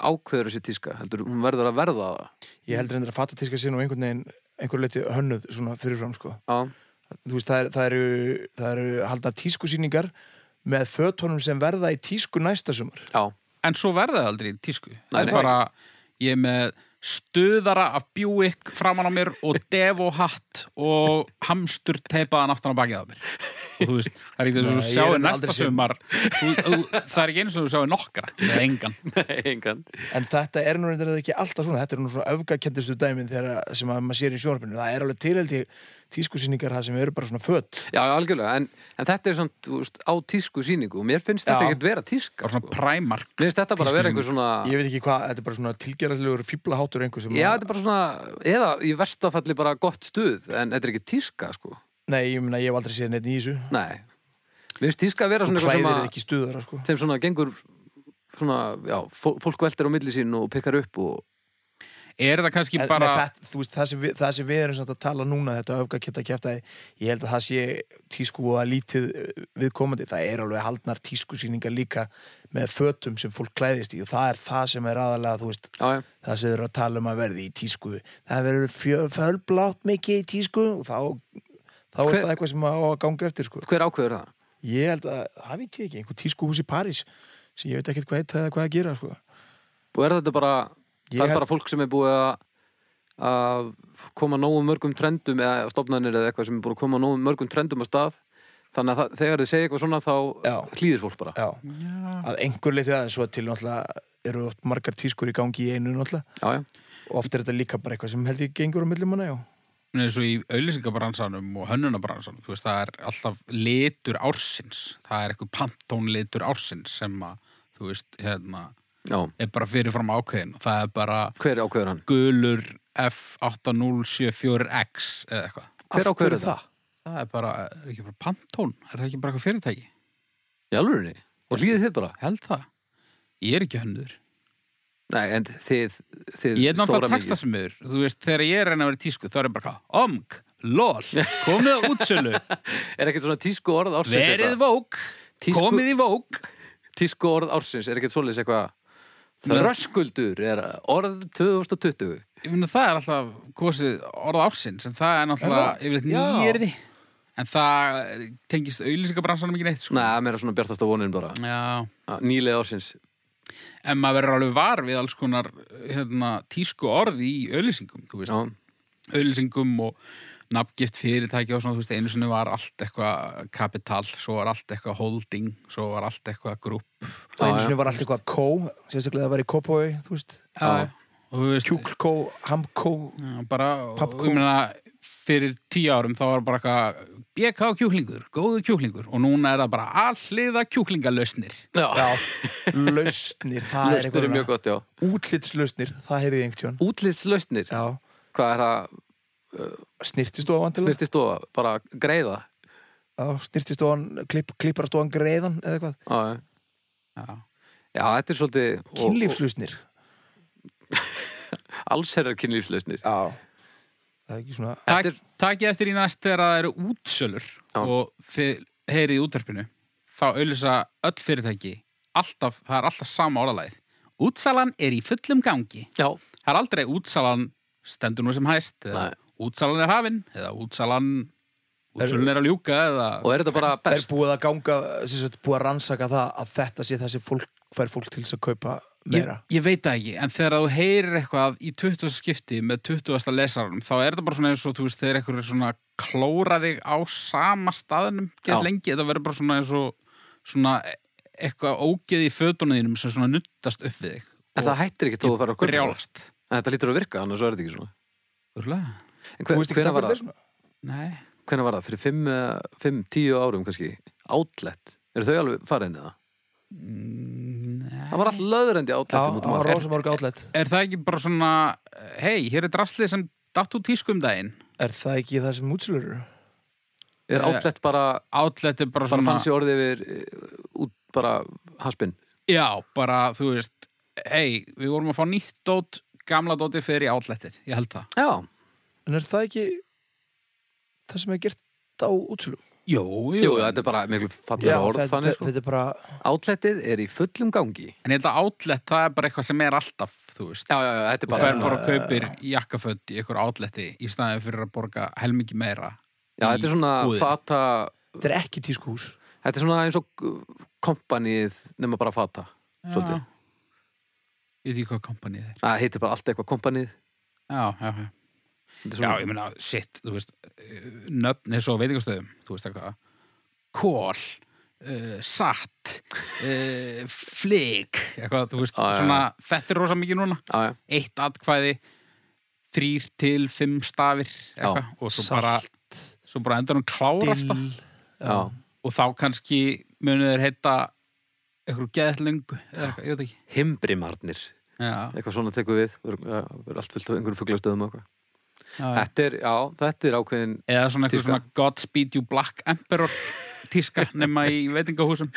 S2: ákveður þessi tíska, heldur, hún verður að verða það.
S3: Ég heldur endur að fatta tíska sín og einhvern veginn, einhver leiti hönnuð svona fyrirfram, sko.
S2: Já,
S3: Þú veist, það, er, það, eru, það eru haldna tískusýningar með fötunum sem verða í tísku næsta sumar.
S1: [laughs]
S2: já,
S1: en svo verða það aldrei í tísku.
S2: Nei,
S1: það
S2: nei.
S1: er bara, ég er með stuðara af Buick framan á mér og Devo hatt og hamstur teipaðan aftan á bakið á mér og þú veist, það er ekki eins og þú
S3: Nei, ég hef
S1: sjáir
S3: þetta aldrei
S1: næsta
S3: séð.
S1: sumar þú, þú, það er ekki eins og þú sjáir nokkra eða engan
S2: Nei, engan.
S3: En þetta er nú reyndar ekki alltaf svona, þetta er nú svona öfgakendistu dæmin þegar að- sem að maður sér í sjórfinu. Það er alveg tilhaldi tískusýningar það sem eru bara svona fött.
S2: Já, já, algjörlega, en, en þetta er samt þú veist, á tísku síningu og mér finnst þetta
S3: Já.
S2: ekkert vera tíska.
S1: og svona
S2: Sko.
S1: præmark
S2: Mér finnst þetta bara vera einhver svona...
S3: Ég veit ekki hvað, þetta er bara svona tilgerðarlegur fíblaháttur einhver sem
S2: Já,
S3: að...
S2: þetta er bara svona... Eða í vestafalli bara gott stuð, en þetta er ekki tíska, sko.
S3: Nei, ég meina, ég hef aldrei séð neitt í þessu.
S2: Nei. Mér finnst tíska vera svona
S3: Klæðir
S2: eitthvað sem
S3: er
S2: að...
S3: ekki stuðara, sko.
S2: sem svona gengur svona, já, fó- fólk veltir á milli sín og pikkar upp og
S1: er það kannski
S3: En,
S1: bara
S3: nei, það, þú veist, það, sem við, það sem við erum samt að tala núna, þetta öfgaketta kjæftæði, ég held að það sé tísku og að lítið eh, viðkomandi. Það er alveg haldnar tískusýningar líka með fötum sem fólk klæðist í og það er það sem er aðalega, þú veist,
S2: já, já,
S3: það sem þeir eru að tala um að verði í tísku það verður fjö- fölblátt mikið í tísku og þá, þá er
S2: Hver-
S3: það eitthvað sem á að ganga eftir sko.
S2: hver ákveður það?
S3: ég held að, það veit ég ekki, einhver tískuhús í París sem ég veit ekkert hvað heita eða hvað að gera sko.
S2: Og er þetta bara,
S3: Ég
S2: það er
S3: held-
S2: bara fólk sem er búið að að koma nógu mörgum trendum eða stofnanir eða eitthvað sem er búið að koma nógu mörgum trendum að stað þannig að það, þegar þið segja eitthvað svona þá
S3: Já.
S2: hlýðir fólk bara.
S3: Já. að einhver leiti það, svo til náttúrulega eru oft margar tískur í gangi í einu náttúrulega
S2: Já, já,
S3: og oft er þetta líka bara eitthvað sem held ég gengur á millum hana, já.
S1: eins og í auðlýsingabransanum og hönnunabransanum, þú veist, það er alltaf litur ársins, það er eitthvað pantónlitur ársins sem að, þú veist, hérna,
S2: já,
S1: er bara fyrirfram ákveðin og það er bara
S2: hver ákveður hann?
S1: gulur F8074X eða eitthvað.
S2: Hver
S3: Af
S2: ákveður
S3: hverju
S2: það?
S1: Það er bara, er ekki bara pantón, er það ekki bara eitthvað fyrirtæki?
S2: Í alvörinni? Og hlýðir þið bara?
S1: Held það. Ég er ekki hönnur.
S2: Nei, en þið, þið
S1: Ég er náttúrulega
S2: mikið.
S1: textasmiður, þú veist, þegar ég er enn að vera í tísku, þá er ég bara hvað, omg, lol, komið á
S2: [laughs]
S1: útsölu,
S2: [laughs] Er ekkert svona tísku orð ársins
S1: verið vók,
S2: Tísku-
S1: komið í vók.
S2: tísku orð ársins er ekkert svoleiðis eitthvað þröskuldur er orð 2020
S1: Ég finna það er alltaf kosið orða ársins en það er náttúrulega
S3: Er það?
S1: yfirleitt
S3: Já.
S1: nýjörði en það tengist auðlýsingabransanum ekki neitt sko.
S2: Nei, mér er svona bjartasta vonin bara
S1: Já,
S2: Að nýlega ársins
S1: en maður verður alveg var við alls konar hérna, tísku orð í auðlýsingum þú veist,
S2: Já,
S1: auðlýsingum og nafngift fyrirtæki og svona, þú veist, einu sinni var allt eitthvað kapital, svo var allt eitthvað holding, svo var allt eitthvað grúp
S3: og einu sinni var allt eitthvað kó sérstaklega það var í kópói, þú veist
S1: Já, og þú veist
S3: kjúklkó, hamkó
S1: Já, bara,
S3: Pappkó.
S1: og ég meina, fyrir tíu árum þá var bara eitthvað BK kjúklingur, góðu kjúklingur og núna er það bara alliða kjúklingalausnir
S2: já.
S3: já, lausnir, það er
S2: lausnir er mjög
S3: eitthvað
S2: gott, já
S3: útlitslausnir, það heyrði ég einhvern tjón
S2: Útlitslausnir,
S3: Já,
S2: hvað er það
S3: snirtistofan til
S2: snirtistofa, bara greiða
S3: það Snirtistofan, klipp, klipparastofan greiðan eða eitthvað,
S2: Já, já.
S1: Já.
S2: já þetta er svolítið og-
S3: kynlífslausnir
S2: og Alls herrar kynlífslausnir
S3: Já Það er ekki svona
S1: Tak,
S2: Þetta er-
S1: Takið eftir í næst þegar það eru útsölur
S2: Já.
S1: og þið heyrið í útverfinu þá auðlýsa öll fyrirtæki alltaf, það er alltaf sama orðalæð Útsalan er í fullum gangi
S2: Já,
S1: Það er aldrei útsalan stendur nú sem hæst eða
S2: Nei.
S1: útsalan er hafin eða útsalan útsölun er að ljúka eða
S2: og er þetta bara
S3: Er
S2: best
S3: búið að ganga, sem sagt, búið að rannsaka það að þetta sé það sem fólk, fær fólk til þess að kaupa meira
S1: Ég, ég veit það ekki, en þegar þú heyrir eitthvað í 20. skipti með 20. lesarum þá er það bara svona eins og þú veist þegar eitthvað er svona klóra þig á sama staðnum
S2: Já.
S1: gett lengi, þetta verður bara svona eins og svona e- eitthvað ógeð í fötunum þínum sem svona nuttast upp við þig
S2: En það hættir ekki þó að fara að kaupa það.
S1: brjálast
S2: En þetta lítur að virka, annars er þetta ekki svona
S1: Úrlega?
S2: En
S3: Þú
S2: hver,
S3: veist ekki
S2: hvenær
S3: það
S2: var
S3: hvað
S2: það?
S3: er svona
S1: Nei,
S2: hvernig var það, fyrir 5-10 árum kannski, Outlet eru þau alveg farin eða? það var allt löðurendi
S3: Já,
S2: Outlet
S3: það var rosa mörg átlet
S1: er það ekki bara svona hei, hér er draslið sem datt úr tísku um daginn
S3: Er það ekki það sem útslur eru?
S2: er Outlet bara,
S1: Outlet er bara
S2: bara
S1: svona
S2: fancy orðið yfir eh, út bara haspinn
S1: Já, bara, þú veist, hei, við vorum að fá nýtt dót, gamla dóti fyrir í outletið, ég held það.
S2: já,
S3: En er það ekki það sem er gert á útslum?
S1: Jú,
S2: jú, þetta er bara miklu fallega orð
S3: þetta,
S2: þannig, sko.
S3: þetta er bara
S2: Outletið er í fullum gangi
S1: En ég held að outlet, það er bara eitthvað sem er alltaf, þú veist.
S2: já, já, já, þetta er
S1: Þú
S2: bara,
S1: fer bara og kaupir jakkaföld í einhver outleti í staðið fyrir að borga helmingi meira.
S2: já, þetta er svona
S1: búðinni.
S2: fata
S3: Þetta er ekki tískuhús
S2: þetta er svona eins og kompanið nema bara fata, svolítið
S1: Ég veit ekki hvað kompanið er.
S2: Það heitir bara allt eitthvað kompanið
S1: Já, já, já.
S2: Þetta er
S1: Já,
S2: svona-
S1: ég meina, sitt, þú veist, eh, nöfn eins og veitingastöðum, þú veist eitthvað, kól, uh, satt, uh, flik, eitthvað, þú veist,
S2: Já, já,
S1: svona, þetta er rosa mikið núna,
S2: Já, já,
S1: eitt atkvæði, þrýr til fimm stafir, eitthvað, og svo bara, svo bara endur hún klárast það,
S3: dill
S2: já,
S1: og þá kannski munið þeir heita eitthvað geðlöngu, eða eitthvað, ég veit ekki,
S2: Himbrimarnir
S1: já,
S2: Eitthvað svona tekur við Það er allt fullt af einhverjum fuglastöðum og eitthvað
S1: já, já.
S2: Þetta er, já, þetta er ákveðin
S1: Eða svona eitthvað
S2: Tíska.
S1: svona Godspeed you black emperor tíska nema í veitingahúsum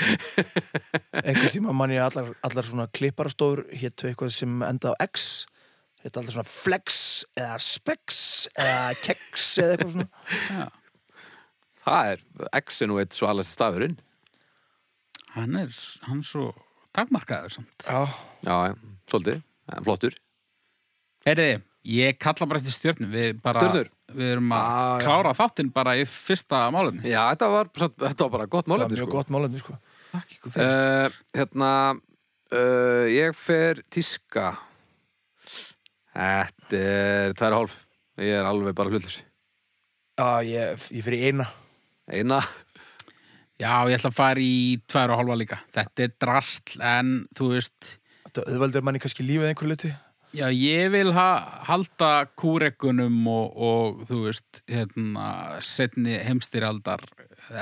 S3: einhvern tíma man ég að allar, allar svona klipparastofur héttu eitthvað sem enda á X héttu allar svona flex eða spex eða keks eða eitthvað svona
S2: Það er, X er nú eitt svo alveg stafurinn
S1: hann er, hann er svo takmarkaður samt.
S3: já,
S2: Já, já, svolítið, en flottur
S1: Heyriði, ég kalla bara eftir stjörnum, við bara,
S2: Stjörnur?
S1: við erum að
S3: Ah, já.
S1: klára þáttinn bara í fyrsta málefni.
S2: Já, þetta var, samt- þetta var bara gott
S3: það er
S2: málefni
S3: mjög
S2: sko.
S3: gott málefni sko
S1: Takk ykkur fyrir.
S2: uh, Hérna uh, Ég fer tíska Þetta er tværa hálf Ég er alveg bara hlutlus
S3: já, ég, ég fyrir eina
S2: Eina,
S1: já, ég ætla að fara í tvær og hálfa líka. Þetta er drastl, en þú veist,
S3: þetta auðveldur manni kannski lífið einhver luti
S1: já, ég vil ha halda kúrekunum og, og þú veist, hérna, setni heimstyrjaldar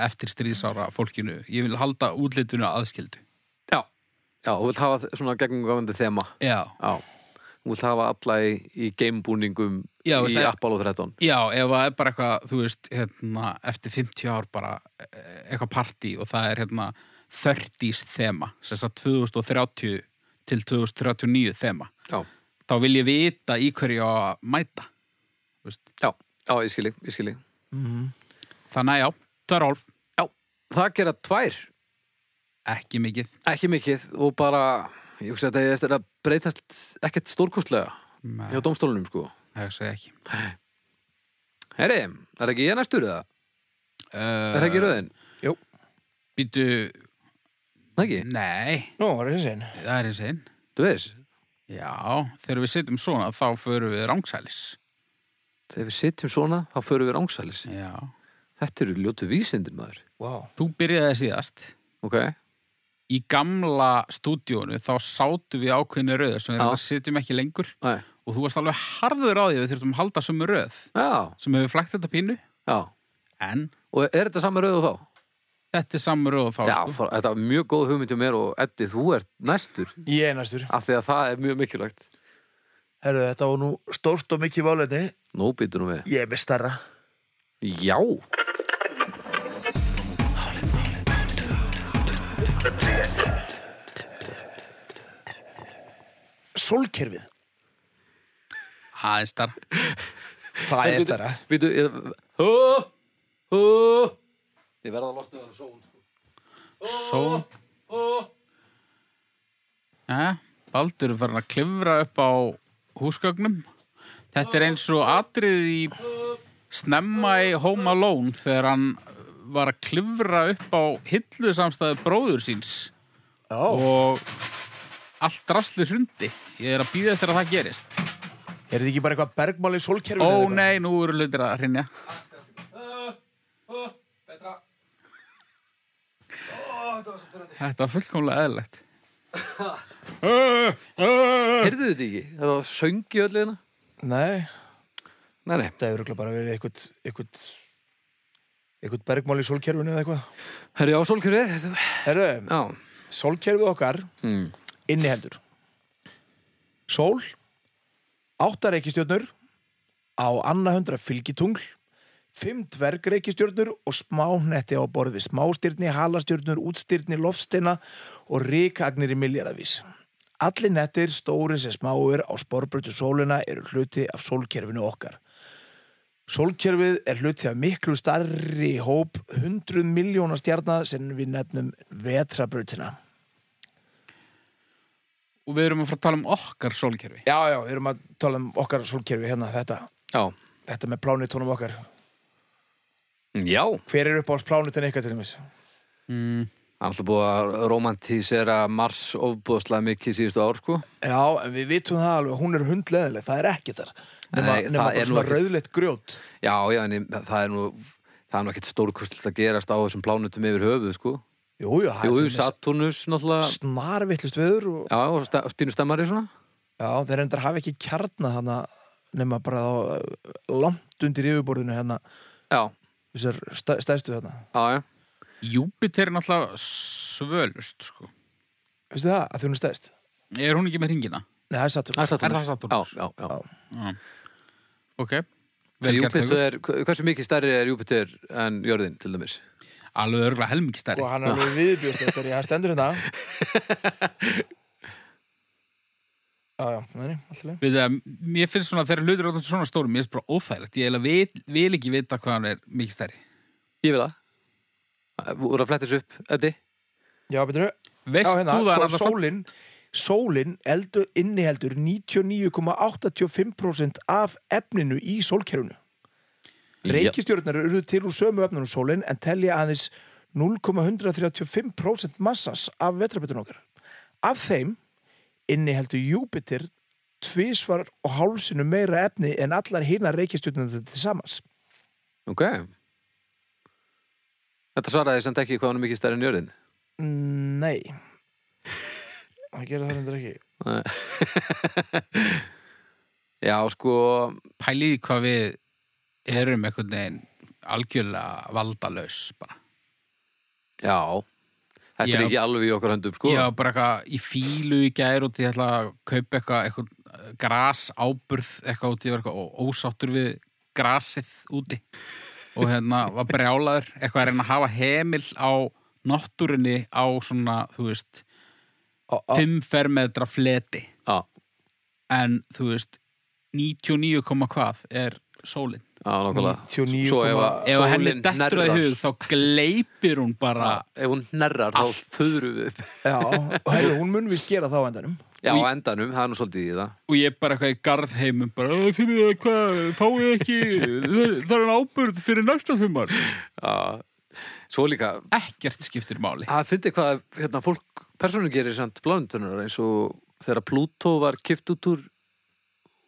S1: eftir stríðsára fólkinu. Ég vil halda útlitinu aðskildu.
S2: já Já, þú vilt hafa svona gegnumgafandi þema
S1: Já.
S2: Já, þú vilt hafa alla í, í gamebúningum
S1: Já,
S2: í
S1: veist það-
S2: Apollo 13
S1: Já, ef það er bara eitthvað, þú veist, hérna, eftir 50 ár bara eh, eitthvað partí og það er hérna 30s þema, sem sagt 2030 til 2039 þema,
S2: Já,
S1: þá vil ég vita í hverju ég á að mæta. þú Veist.
S2: já, já, ég skili, ég skili
S1: Þannig að já, törrólf,
S2: Já, það gera tvær
S1: ekki mikið.
S2: Ekki mikið og bara ég hugsa að þetta er eftir að breytast ekkert stórkostlega
S1: Nei.
S2: hjá dómstólunum sko
S1: Það segi ekki.
S2: Herri, er ekki ég næstur eða?
S1: Uh,
S2: Er það ekki röðin?
S3: jú,
S1: Býtu,
S2: Það ekki?
S1: nei,
S3: nú, það er þessi einn
S1: það er eins einn.
S2: Þú veist,
S1: Já, þegar við sitjum svona þá förum við rángsælis.
S2: þegar við sitjum svona þá förum við rángsælis
S1: Já.
S2: Þetta eru ljótu vísindir maður
S3: wow.
S1: Þú byrjaði síðast.
S2: Ok,
S1: í gamla stúdíónu þá sátu við ákveðinu röð sem við
S2: Já.
S1: þetta sitjum ekki lengur
S2: Æ.
S1: og þú varst alveg harður á því að við þurftum að halda sömu röð
S2: já,
S1: sem hefur flækt þetta pínu
S2: já
S1: en
S2: Og er þetta saman röðu þá?
S1: þetta er samu röð og þá
S2: Já,
S1: sko.
S2: for, þetta var mjög góð hugmynd hjá mér og Eddi, þú ert næstur
S3: ég er næstur
S2: af því að það er mjög mikilvægt
S3: Herru, þetta var nú stórt og mikið málefni
S2: Nú býtur nú við
S3: ég er með starra
S2: Já
S3: sólkerfið,
S1: aðeins þar
S3: það er starra
S2: Býtu, ég Hú, hú Ég verða að losna við hann svo sko.
S1: sól Já, Baldur er farin að klifra upp á húsgögnum þetta er eins og atrið í snemma í Home Alone þegar hann var að klifra upp á hillu samstæðu bróður síns
S3: já,
S1: og allt drasli hrundi ég er að býða eftir að það gerist
S3: er þetta ekki bara eitthvað bergmál í sólkerfið
S1: ó nei, nú eru hlutir að hrinja þetta var fullkomlega eðlilegt
S2: Heyrðu þetta ekki? Það var söngi öll hérna
S3: nei,
S2: Nei, nei,
S3: þetta hefur örugglega bara verið eitthvað eitthvað, eitthvað bergmál í sólkerfinu eða eitthvað
S2: herri á sólkjörið þetta-
S3: Herðu,
S2: Já,
S3: sólkerfið okkar
S2: mm.
S3: inniheldur Sól áttar reikistjörnur á annað hundra fylgitungl fimm dvergreikistjörnur og smáhnetti á borði smástyrni, halastjörnur, útstyrni, loftstyrna og ríkagnir í miljardavís Allir nettir, stóri sem smáir á sporbrötu sólina eru hluti af sólkerfinu okkar Sólkerfið er hluti af miklu starri hóp 100 miljóna stjarnar sem við nefnum vetrabrautina
S1: og við erum að fara að tala um okkar sólkerfi
S3: Já, já, við erum að tala um okkar sólkerfi hérna, þetta,
S2: já
S3: þetta með plánitunum okkar.
S2: Já,
S3: Hver er upp á plánitin ykkar til þeimis?
S1: mm.
S2: Það er alltaf búið að romantísera Mars ofbúðslega mikið síðustu ár, sko.
S3: Já, en við vitum það alveg, hún er hundleðileg, það er ekki þar. Nema,
S2: Nei,
S3: nema
S2: það er
S3: bara
S2: nú
S3: svona
S2: ekkert-
S3: rauðleitt grjót.
S2: Já, já, en ég- það er nú, það er nú ekkert stórkustlega að gerast á þessum plánutum yfir höfuð, sko.
S3: Jú, jú, það
S2: Jú,
S3: er svona
S2: Saturnus, náttúrulega,
S3: snarvittlust viður og
S2: já, og sta- spínu stemmari svona.
S3: já, þeir endar hafa ekki kjarna þarna nema bara þá eh, langt undir yfirborðinu hérna,
S2: Já,
S3: þessar stæ- stæðstu þarna.
S2: já, já.
S1: Júpiter er náttúrulega svölust, sko.
S3: Veistu það, að því hún er stæðst?
S1: Er hún ekki með ringina?
S3: Nei, það er Saturn.
S2: Það er Saturnus.
S1: Er það Satúrnus?
S2: Já, já, já.
S1: Ok.
S2: En
S1: Vel gert, Haukur.
S2: Júpiter, hva- hversu mikið stærri er Júpiter en jörðin, til dæmis?
S1: Alveg örgulega helmingstæri.
S3: Og Sko, hann er alveg viðbjörst eftir ég, hann stendur
S1: [laughs]
S3: hérna. Já, já, neini, alltaf leið.
S1: Við það, mér finnst svona, þegar hlutur átt svona stórum, mér finnst bara óþægilegt. Ég eiginlega vil, vil ekki vita hvað hann er mikið stærri.
S2: Ég vil það. Úr að fletta þessu upp, Eddi?
S3: Já, betur þau?
S1: Veist
S3: já,
S1: þú það
S3: hvað
S1: annars að-
S3: sólin, sólin eldu inniheldur 99,85% af efninu í sólkerfinu. Reykistjórnar eru til úr sömu efninu sólin en telja aðeins 0,135% massans af vetrarbyrjun okkar. Af þeim inniheldur Júpiter tvísvar og hálsinu meira efni en allar hinar reykistjórnar til samans.
S2: Ok. Þetta svaraði samt ekki hvað hann er mikið stærri en jörðin.
S3: Nei. Það gerir það hendur ekki.
S2: Nei. Já, sko,
S1: pæliði hvað við erum einhvern veginn algjörlega valdalaus bara.
S2: já. Þetta
S1: Já.
S2: er ekki alveg í okkar höndum, sko.
S1: Ég var bara eitthvað í fílu í gær og ég ætla að kaupa eitthvað, eitthvað gras áburð eitthvað út, ég var eitthvað ó- ósáttur við grasið úti og hérna var brjálaður eitthvað að reyna að hafa hemil á náttúrinni á svona, þú veist,
S3: Á, á,
S1: 5 fermetra fleti
S2: Já,
S1: en þú veist, 99, komma hvað er sólin?
S2: já, nokkulega.
S3: 99,-
S2: Svo ef að
S1: Ef að henni
S2: sólin
S1: dettur það í
S2: hnerrar-
S1: hug þá gleipir hún bara
S2: Já, Ef hún nerrar, þá föðurum við upp.
S3: já, og herru, hún mun vist gera það á endanum.
S2: Já,
S1: Og
S2: á endanum, það er nú svolítið í það.
S1: og ég bara eitthvað í garðheimum bara, "Æ, finnið þið hvað, fáið ekki það það er hann ábyrð fyrir næsta þumar
S2: Svo líka,
S1: ekkert skiptir máli
S2: Það fyndi hvað hérna, fólk persónu gerir samt blánundunar eins og þegar Plútó var kift út úr,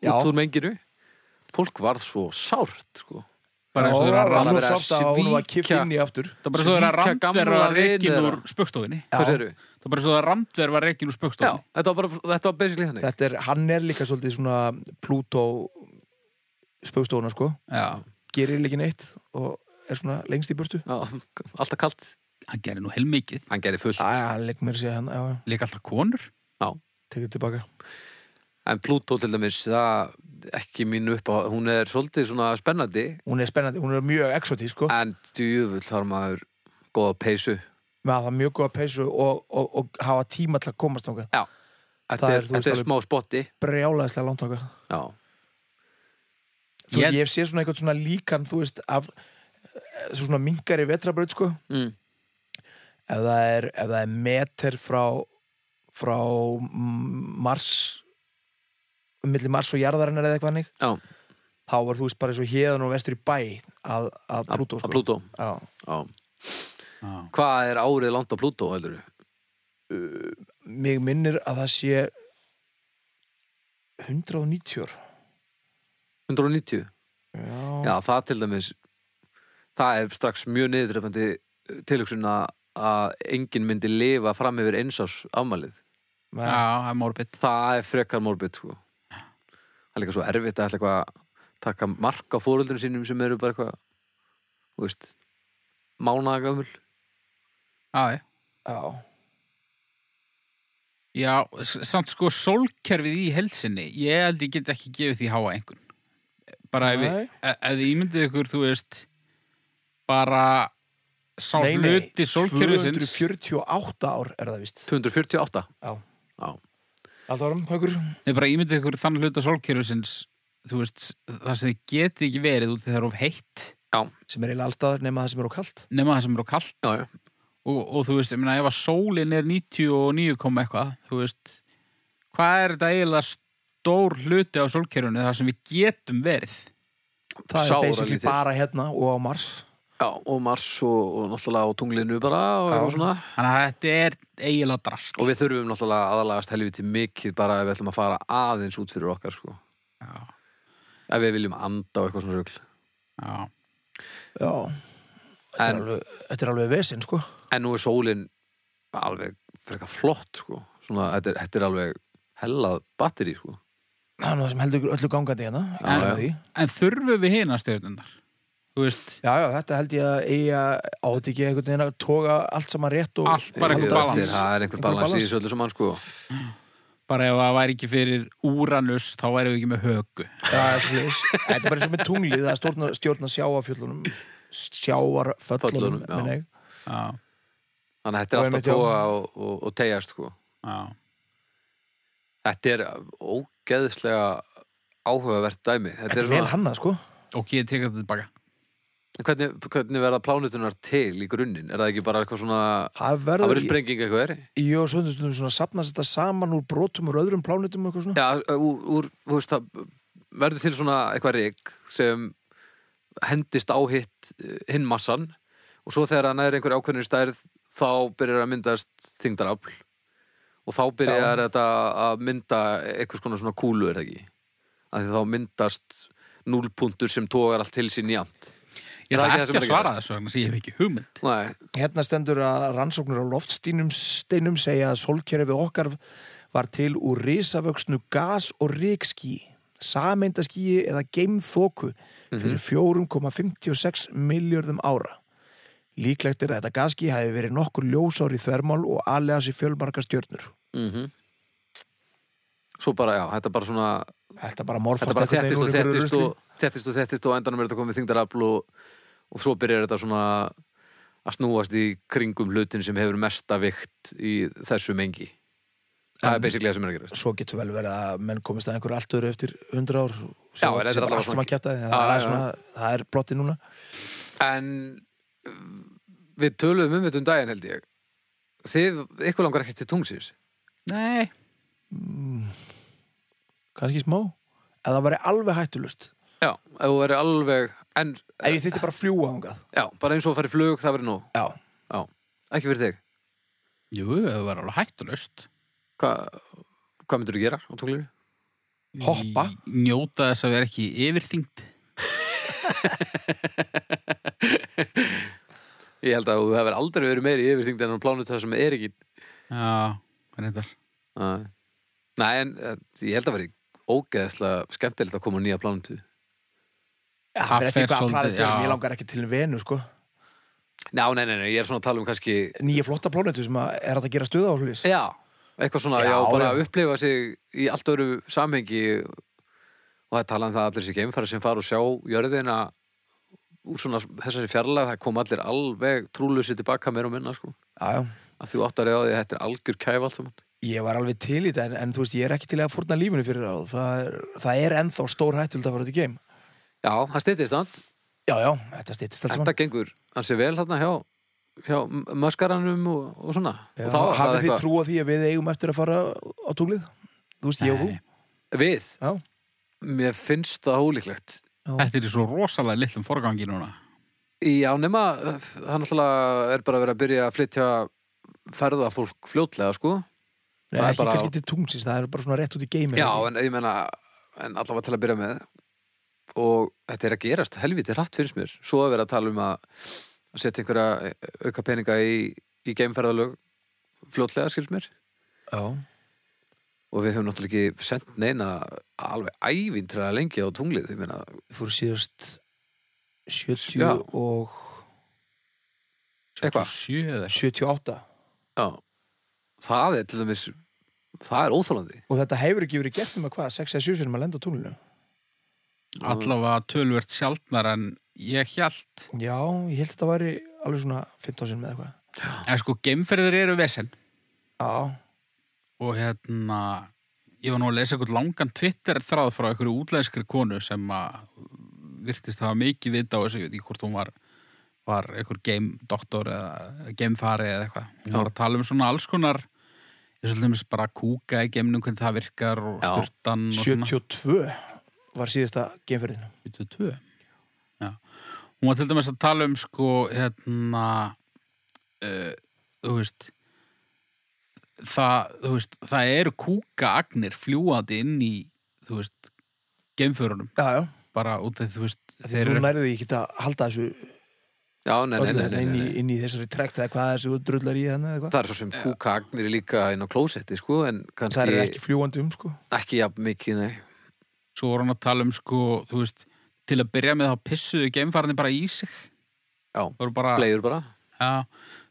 S3: Já.
S2: út úr menginu fólk varð svo sárt sko.
S1: bara eins og þeirra
S2: var
S1: rann
S3: svo
S2: svo verið að
S3: sátt að hún var kipt
S2: svíkja-
S3: inn í aftur.
S1: það er bara svo þeirra
S2: svíkja
S1: randverð
S2: gamla
S1: var
S2: vini
S1: reikin úr
S2: þeirra.
S1: spöggstofinni
S2: Hvað segirðu?
S1: það er bara svo þeirra randverð var reikin úr
S2: Já,
S1: spöggstofinni
S2: þetta var bara, þetta var basically þannig
S3: Þetta er, hann er líka svolítið svona Plútó spögstóna, sko.
S1: Já.
S3: Gerir líka neitt og er svona lengst í burtu.
S2: Já, alltaf kalt,
S1: hann gerir nú heilmikið
S2: hann gerir fullt
S3: Æ, hann leik mér sér hann, hérna, já, já,
S1: líka alltaf konur
S2: Já.
S3: tekur tilbaka.
S2: en Plútó til dæmis það ekki mín upp á, hún er svolítið svona spennandi
S3: Hún er spennandi, hún er mjög exotí, sko.
S2: en djöfull þarf maður góða peysu
S3: Með að það er mjög góða peysu og, og, og hafa tíma til að komast þangað.
S2: Já, þetta
S3: Það
S2: er,
S3: er, þú veist,
S2: þetta er
S3: alveg-
S2: smá spotti
S3: Brjálæðislega langt þangað.
S2: Já,
S3: Þú
S1: Ég-
S3: veist, ég hef séð svona eitthvað svona líkan, þú veist, af eh, svona minkari vetrabraut, sko.
S2: mm.
S3: ef það er, ef það er meter frá, frá mm, Mars millir Mars og jarðarinnar eða eitthvað hannig
S2: Já.
S3: þá var þú veist bara eins og hérðan og vestur í bæ að, að Plútó
S2: að
S3: sko.
S2: Plútó
S3: Já.
S2: Já.
S1: Já.
S2: Hvað er árið langt á Plútó, heldur
S3: mig minnir að það sé 190 ár.
S2: 190?
S3: já,
S2: Já, það til dæmis það er strax mjög niðurdrefandi tilhugsun að að enginn myndi lifa fram yfir einsás afmælið.
S1: já,
S3: já.
S1: það er morbid
S2: Það er frekar morbid, sko. Það er líka svo erfitt að ætla eitthvað að taka mark á fóröldunum sínum sem eru bara eitthvað, þú veist, mánagamul.
S1: já, já.
S3: já.
S1: já, s- samt sko sólkerfið í helsinni ég held ég get ekki gefið því háa einhvern bara ef,
S3: Nei.
S1: við- e- ef þið ímyndið ykkur þú veist bara sá
S3: Nei, nei,
S1: hluti sólkerfisins
S3: 248 ár er það vist
S2: 248.
S3: já.
S2: Já.
S3: allt árum, haukur
S1: Nei, bara ímyndið ykkur þann hluta sólkerfisins þú veist, það sem þið getið ekki verið út þegar það er of heitt
S3: sem er eiginlega allstaðar nema það sem er á kalt
S1: nema það sem eru kallt
S2: Já, já.
S1: og, og þú veist, ég meina ef að sólin er 99, komma eitthvað þú veist, hvað er þetta eiginlega stór hluti á sólkerfinu þar sem við getum verið
S3: það
S2: Sáralítið.
S3: er basically bara hérna og á Mars
S2: Já, Já, og Mars og, og náttúrulega á tunglinu bara og
S3: Já.
S2: eitthvað svona
S1: Þannig að þetta er eiginlega drast.
S2: Og við þurfum náttúrulega aðalagast helviti mikið bara ef við ætlum að fara aðeins út fyrir okkar sko.
S1: Já,
S2: Ef við viljum anda og eitthvað svona rugl
S1: já.
S3: Já, þetta,
S2: En-
S3: er alveg, þetta er alveg vesinn, sko.
S2: En nú er sólin alveg frekar flott sko. svona, þetta, er, þetta er alveg hellað batteri sko.
S3: Það er nú það sem heldur ykkur öllu gangandi hérna. ég
S2: Já,
S3: gleymdi
S2: já.
S3: því.
S1: En þurfum við hina stjörnundar? Þú veist,
S3: já, já, þetta held ég að eiga átt ekki einhvern veginn að toga allt saman rétt og...
S1: Allt bara einhver
S2: Þetta er-
S1: balans.
S2: Það er einhver
S3: Einhver
S2: balans í
S3: balans.
S2: þessu öllu saman sko.
S1: bara ef það væri ekki fyrir Úranus, þá væri við ekki með högu.
S3: Já, þetta er svoleiðis. Þetta er bara eins og með tunglið, það stjórna, stjórna sjáafjöllunum, sjáarföllunum,
S2: Föllunum, já.
S3: minn ég.
S1: Já,
S2: Þannig að þetta
S3: Og
S2: er alltaf
S3: einmitt, já.
S2: tóa og, og, og tegjast sko.
S1: já.
S2: Þetta er ógeðslega áhugavert dæmi Þetta
S3: Þetta
S2: er
S3: er vel
S2: svona,
S3: hannað, sko.
S1: Ok, ég tek þetta tilbaka.
S2: hvernig, hvernig verða plánutunar til í grunninn? Er það ekki bara eitthvað svona
S3: Það
S2: Það
S3: verður,
S2: verður sprenging eitthvað er?
S3: í- í og svöndustundum svona safnast þetta saman úr brotum úr öðrum plánutum og eitthvað svona.
S2: Já, úr, úr, þú veist, það verður til svona eitthvað rík sem hendist á hitt eh, hinn massan og svo þegar hann er einhver ákveðnir stærð þá byrjar að myndast þingdarafl og þá byrjar þetta að mynda einhvers konar svona kúlu er það ekki að því þá myndast núlpuntur sem tógar allt til sín jæmt
S1: Ég
S2: Er það
S1: ætla
S2: ekki það
S1: ekki að
S2: sem er að
S1: svara þessu vegna, því ég hef ekki hugmynd.
S2: Nei,
S3: Hérna stendur að rannsóknur á loftstínum steinum segja að sólkerfið okkar var til úr risavöxnu gas- og ríkskí, sameindaskíi eða geimþóku
S2: Mhm.
S3: fyrir 4,56 miljörðum ára. Líklegt er að þetta gaskí hafi verið nokkur ljósár í þvermál og aðlega sér fjölmarka stjörnur.
S2: mhm Svo bara, já, þetta er bara svona
S3: Þetta bara morfast
S2: þetta bara
S3: einhvern
S2: þettist
S3: veginn
S2: og
S3: úr einhverju
S2: þettist
S3: rusli.
S2: og þettist og þettist og á endanum er þetta komið þingdarafl og, og svo byrjar þetta svona að snúast í kringum hlutin sem hefur mesta vikt í þessu mengi það er basically það sem er að gerast
S3: Svo getur vel verið að menn komist að einhverju allt öðru eftir 100 ár
S2: Já, en þetta er
S3: sem
S2: allavega
S3: allt sem
S2: svona-
S3: að kjæta það,
S2: Já,
S3: það,
S2: já,
S3: er svona- það er blottið núna
S2: en uh, við töluðum um þetta um daginn held ég þið, ykkur langar ekki til tungsins
S1: Nei.
S3: kannski smá, að það væri alveg hættulust
S2: já, ef þú verið alveg en,
S3: ef ég þýtti bara að fljúa ángað
S2: já, bara eins og að fara í flug, það verið nú
S3: já,
S2: já, ekki fyrir þig
S1: Jú, það var alveg hættulöst.
S2: hvað hva myndir þú gera á tunglinu?
S3: Hoppa?
S1: Í- Njóta þess að vera ekki yfirþyngt.
S2: ég held að þú hefur aldrei verið meiri yfirþyngd en á plánutu sem er ekki
S1: Já, reyndar.
S2: Nei, Nei, en eh, ég held að veri ógeðslega skemmtilegt að koma á nýja plánutu.
S3: það
S1: fer
S3: er eftir hvað
S1: svolítið,
S3: að planetum,
S1: já.
S3: ég langar ekki til venu sko.
S2: Já, nei, nei, nei, ég er svona að tala um kannski,
S3: nýja flotta planetu sem að er hægt að gera stuða á svolítið
S2: já, eitthvað svona, já,
S3: Já,
S2: bara
S3: já.
S2: að upplifa sig í allt öru samhengi og það er talað um það að allir sér geimfæra sem fara og sjá jörðina úr svona þessari fjarlæg, það kom allir alveg trúlusi tilbaka meir og minna, sko.
S3: já, já
S2: Að þú áttar eða því að þetta er algjör kæf allt saman.
S3: Ég var alveg til í þetta, en, en þú veist, ég er ekki til að fórna lífinu fyrir það. Það er, það er ennþá stór hættulegt að fara út í geim.
S2: Já, það styttist þannig,
S3: Já, já, þetta stýttist allt
S2: þetta
S3: saman.
S2: gengur ansi vel þarna hjá, hjá möskaranum og, og svona.
S3: Já,
S2: og þá var það
S3: Hafið þið
S2: eitthvað-
S3: trú á því að við eigum eftir að fara á tunglið? Þú veist, ég og þú?
S1: Nei.
S2: Við,
S3: Já.
S2: Mér finnst það ólíklegt
S1: Þetta er í svo rosalega litlum forgangi núna.
S2: Já, nema, uh, það náttúrulega er bara að vera að byrja að flytja ferðafólk fljótlega, sko
S3: Nei,
S2: Það er
S3: ekki
S2: bara-
S3: kannski til tungsins, það er bara svona rétt út í geimi.
S2: Já, en ég meina, en allavega til að byrja með og þetta er að gerast helviti hratt finnst mér, svo að vera að tala um að að setja einhverja eh, auka peninga í, í geimferðalög fljótlega, skilst mér
S3: Já.
S2: og við höfum náttúrulega ekki sendt neina alveg ævintræða lengi á tunglið, ég meina,
S3: Við fórum síðast 70
S2: Já.
S3: og
S2: eitthvað
S1: 7 eða eitthvað.
S3: 78
S2: Já, það er til dæmis það er óþólandi
S3: og þetta hefur ekki verið gert um að hvað, 6 eða 7 sinum að lenda á tunglinu.
S1: Allavega tölvert sjaldnar en ég hjælt.
S3: Já, ég held að þetta væri alveg svona 15 sinum eða eitthvað.
S1: En sko, geimferðir eru vesen.
S3: Já.
S1: og hérna ég var nú að lesa einhvern langan Twitter þráð frá einhverju útlæðskri konu sem að virtist hafa mikið vita á þessu, ég veit ekki hvort hún var var einhver game-doktor eða game-fari eða eitthvað hún var að tala um svona alls konar ég svolítið mér bara kúka í geimnum hvernig það virkar og
S2: Já.
S1: styrtan og
S3: 72 var síðasta geimferðin.
S1: svona 72 Já. Hún var til dæmis að tala um sko hérna uh, þú veist það, þú veist, það eru kúkaagnir fljúandi inn í þú veist, geimförunum
S3: já, já,
S1: bara út af þú veist
S3: Þeir
S1: þeir
S3: þú
S1: eru,
S3: nærði ekki að halda þessu
S2: Já, nei, nei, nei,
S3: öllu
S2: nei,
S3: inn, í,
S2: nei.
S3: inn í þessari trekt eða hvað þessu drullar í þannig eða hvað
S2: Það er svo sem kúkagnir líka inn á klósetti, sko, en kannski
S3: það er ekki fljúandi um sko
S2: ekki jafn mikið, nei.
S1: svo voru hann að tala um sko þú veist, til að byrja með þá pissuðu geimfarnir bara í sig
S2: Já,
S1: Það voru bara,
S2: bleiður bara.
S1: Já,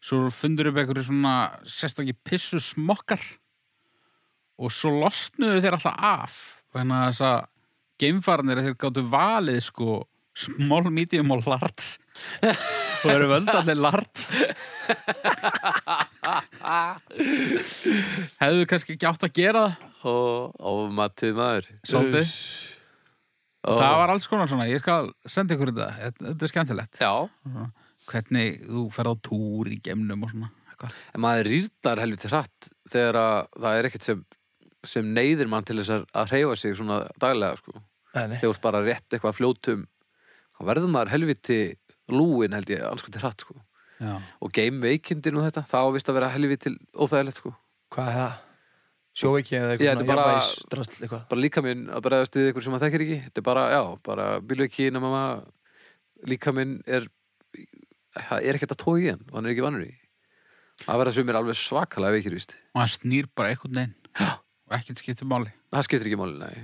S1: svo fundur upp einhverju svona sérstakki pissu smokkar og svo losnuðu þeir alltaf af þannig að þess að geimfarnir þeir gáttu valið sko small, medium og large og þeir eru völd allir large hefðu kannski ekki átt að gera það
S2: Og, og matið maður.
S1: svolítið,
S2: Og,
S1: það var alls konar svona ég skal senda ykkur þetta, þetta þetta er skemmtilegt
S2: Já,
S1: hvernig þú ferð á túr í geimnum og svona eitthvað.
S2: en maður rýrnar helviti hratt þegar að það er ekkert sem, sem neyðir mann til þess að- að hreyfa sig svona daglega, sko.
S3: nei, nei.
S2: Þegar þú ert bara rétt eitthvað að fljótum, þá verður maður helviti lúin, held ég, alls kvöldi hratt, sko.
S1: Já.
S2: Og geimveikindin og þetta, það ávist að vera helviti óþægilegt, sko.
S3: hvað er það? sjóveiki eða eitthvað
S2: Já, þetta
S3: svona
S2: er bara-
S3: jafnvægisdrasl eitthvað
S2: bara líka minn að bregðast við einhver sem að þekkir ekki þetta er bara, já, bara bílu ekki nema maður líka minn er það er ekkert að tói í hann og hann er ekki vannur í það verða sumir alveg svakalega veikir víst
S1: og hann snýr bara einhvern veginn
S2: Já.
S1: og ekkert skiptir máli
S2: það skiptir ekki máli, nei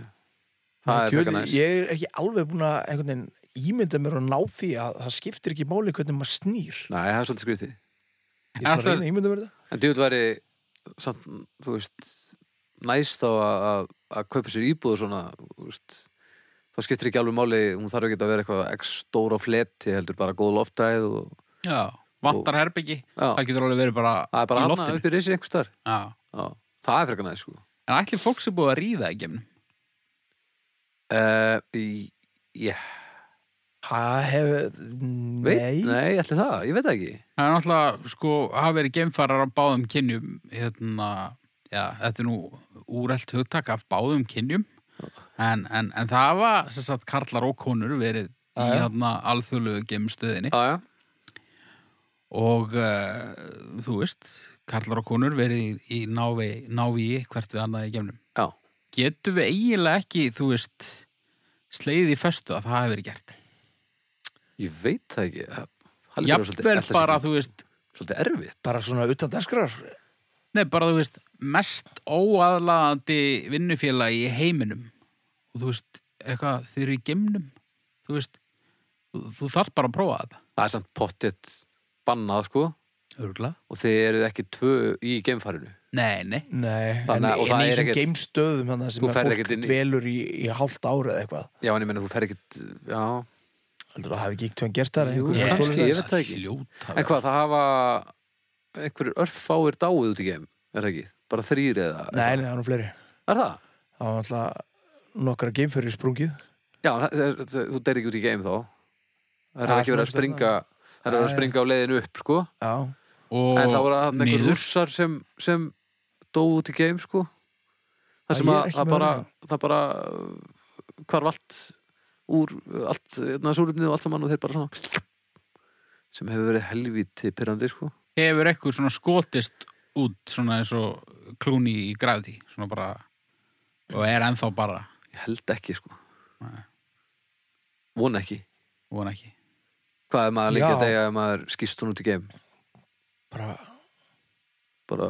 S2: það er
S3: Djöfull,
S2: þakka næst
S3: ég er ekki alveg búin að einhvern veginn ímynda mér að ná því að það skiptir ekki máli hvernig maður snýr
S2: nei, það er svolítið skrítið
S3: ég er
S1: Ætlar-
S3: svona reyna að ímynda mér þetta
S2: en djúið væri, samt, þú veist næst þá að, að, að kaupa sér íbúð og svona, þú veist þá skiptir ekki alveg máli, hún þarf ekki að vera eitthvað x stóra fleti, heldur bara góð loftæð og
S1: Já, vantar herbyggi
S2: Já.
S1: Það getur alveg verið bara,
S2: það er bara
S1: í
S2: hann
S1: loftinu
S2: upp í risi einhver starf
S1: Já.
S2: Já, það er frekar næst sko
S1: En allir fólk sem búið að ríða í gemnum
S2: uh, í- yeah.
S3: Það hefur,
S2: Veit,
S3: nei,
S2: nei, allir það, ég veit það ekki
S1: Það er náttúrulega, sko, hafa verið gemfarar á báðum kynjum hérna, já, þetta er nú úrælt hugtak af báðum kynjum en, en, en það hafa, sem sagt, karlar og konur verið í
S3: já.
S1: hérna alþjóðlegu gemstöðinni
S2: Já, já,
S1: og uh, þú veist, karlar og konur verið í, í návi, návi hvert við annað í gemnum
S2: já
S1: Getum við eiginlega ekki, þú veist slegið í föstu að það hefur verið gert
S2: Ég veit það ekki Það- það lítur að vera
S1: Jafnvel
S2: svolítið-
S1: bara,
S2: ætli
S1: þú veist,
S2: sé Svolítið erfitt
S3: bara svona utan dagskrar
S1: nei, bara, þú veist, mest óaðlaðandi vinnufélagi í heiminum. Og þú veist, eitthvað, þeir eru í geimnum, þú veist, þú, þú þarf bara að prófa þetta.
S2: Það er samt pottitt bannað sko
S1: Örgulega?
S2: og þið eruð ekki tvö í geimfarinu
S1: Nei, nei.
S3: Nei, en,
S2: Þannig að- og
S3: en
S2: það
S3: í
S2: er
S3: þessum
S2: ekkert-
S3: geimstöðum þannig sem
S2: Þú
S3: að
S2: ferð
S3: fólk
S2: ekkert inn í-
S3: dvelur í, í hálft ára eða eitthvað
S2: Já, en ég meina þú fer ekkit Já,
S3: heldur það hafi ekki eitthvað gerst þar
S2: Jú,
S3: einhver
S2: ég-
S3: hafi stolið
S2: ég
S3: þær?
S2: veit það ekki.
S1: Ljóta.
S2: en hvað, það hafa einhverjur örfáir dáið út í geim Er það ekki? Bara þrýr eða
S3: Nei, nei, það er nú fleiri
S2: Er það?
S3: Það var alltaf nokkra geimfyrir sprungið
S2: Já, það, það, það, þú deyrir ekki út í geim þá Það
S3: Já,
S2: er ekki verið að
S3: svona
S2: springa Það er verið að
S3: Nei.
S2: springa á leiðinu upp sko
S3: Já,
S1: Og
S2: En það voru hann einhver
S1: niður.
S2: rússar sem, sem dóu út í geim sko
S3: Það
S2: Það sem
S3: ég er
S2: að
S3: ekki
S2: það
S3: með
S2: bara,
S3: hana.
S2: það bara uh, hvarf allt úr uh, allt, næsúrumnið og allt saman og þeir bara svona sem hefur verið helvíti pyrrandi sko
S1: hefur eitthvað svona skotist út, svona eins og klúni í græði, svona bara, og er ennþá bara,
S2: Ég held ekki sko
S1: Nei.
S2: Vona ekki
S1: von ekki.
S2: Hvað er maður lengi að
S3: Já.
S2: degja ef maður skýst hún út í geim
S3: bara
S2: bara,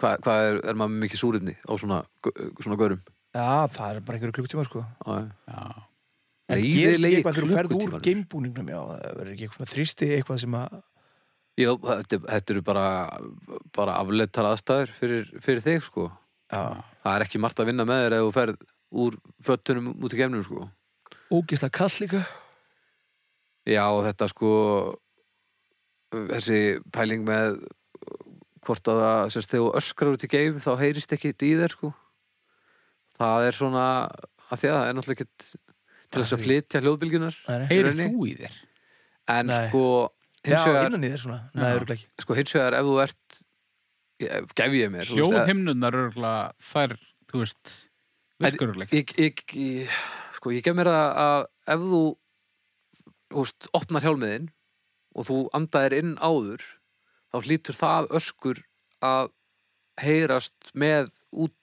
S2: hvað, hvað er, er maður með mikið súrumni á svona, gau- svona görum
S3: Já, það er bara einhverju klukktíma sko
S2: Já,
S1: Já.
S3: En
S2: Nei,
S3: gerist
S2: leiðilegi
S3: ekki eitthvað þegar þú ferð úr
S2: klukkutímanum.
S3: geimbúningnum Já, það verður ekki eitthvað þrýsti eitthvað sem að
S2: Já, þetta, þetta eru bara, bara afleittar aðstæður fyrir, fyrir þig, sko.
S3: Já,
S2: Það er ekki margt að vinna með þér ef þú ferð úr föttunum út í gefnum, sko.
S3: ógisla kall líka
S2: Já, og þetta, sko, þessi pæling með hvort að það, sérst, þegar þú öskrar út í geim, þá heyrist ekki í þér, sko. Það er svona, að því að það er náttúrulega ekkert til þess að flytja hljóðbylgjunar.
S3: Nei, nei.
S1: Heyrið
S2: rauninni-
S1: þú í þér?
S2: En,
S3: Nei.
S2: sko,
S3: Já,
S2: hins vegar,
S3: innan í þér svona Nei,
S1: Já.
S3: örugglega ekki.
S2: sko, hins vegar, ef þú ert, ég- gef ég mér. þú veist, að-
S1: Hljóðhimnunar örgulega, þær, þú veist, virkurlega.
S2: ég, ég, ég, sko, ég gef mér það að ef þú húst, opnar hjálmiðin og þú andaðir inn áður þá hlýtur það öskur að heyrast með út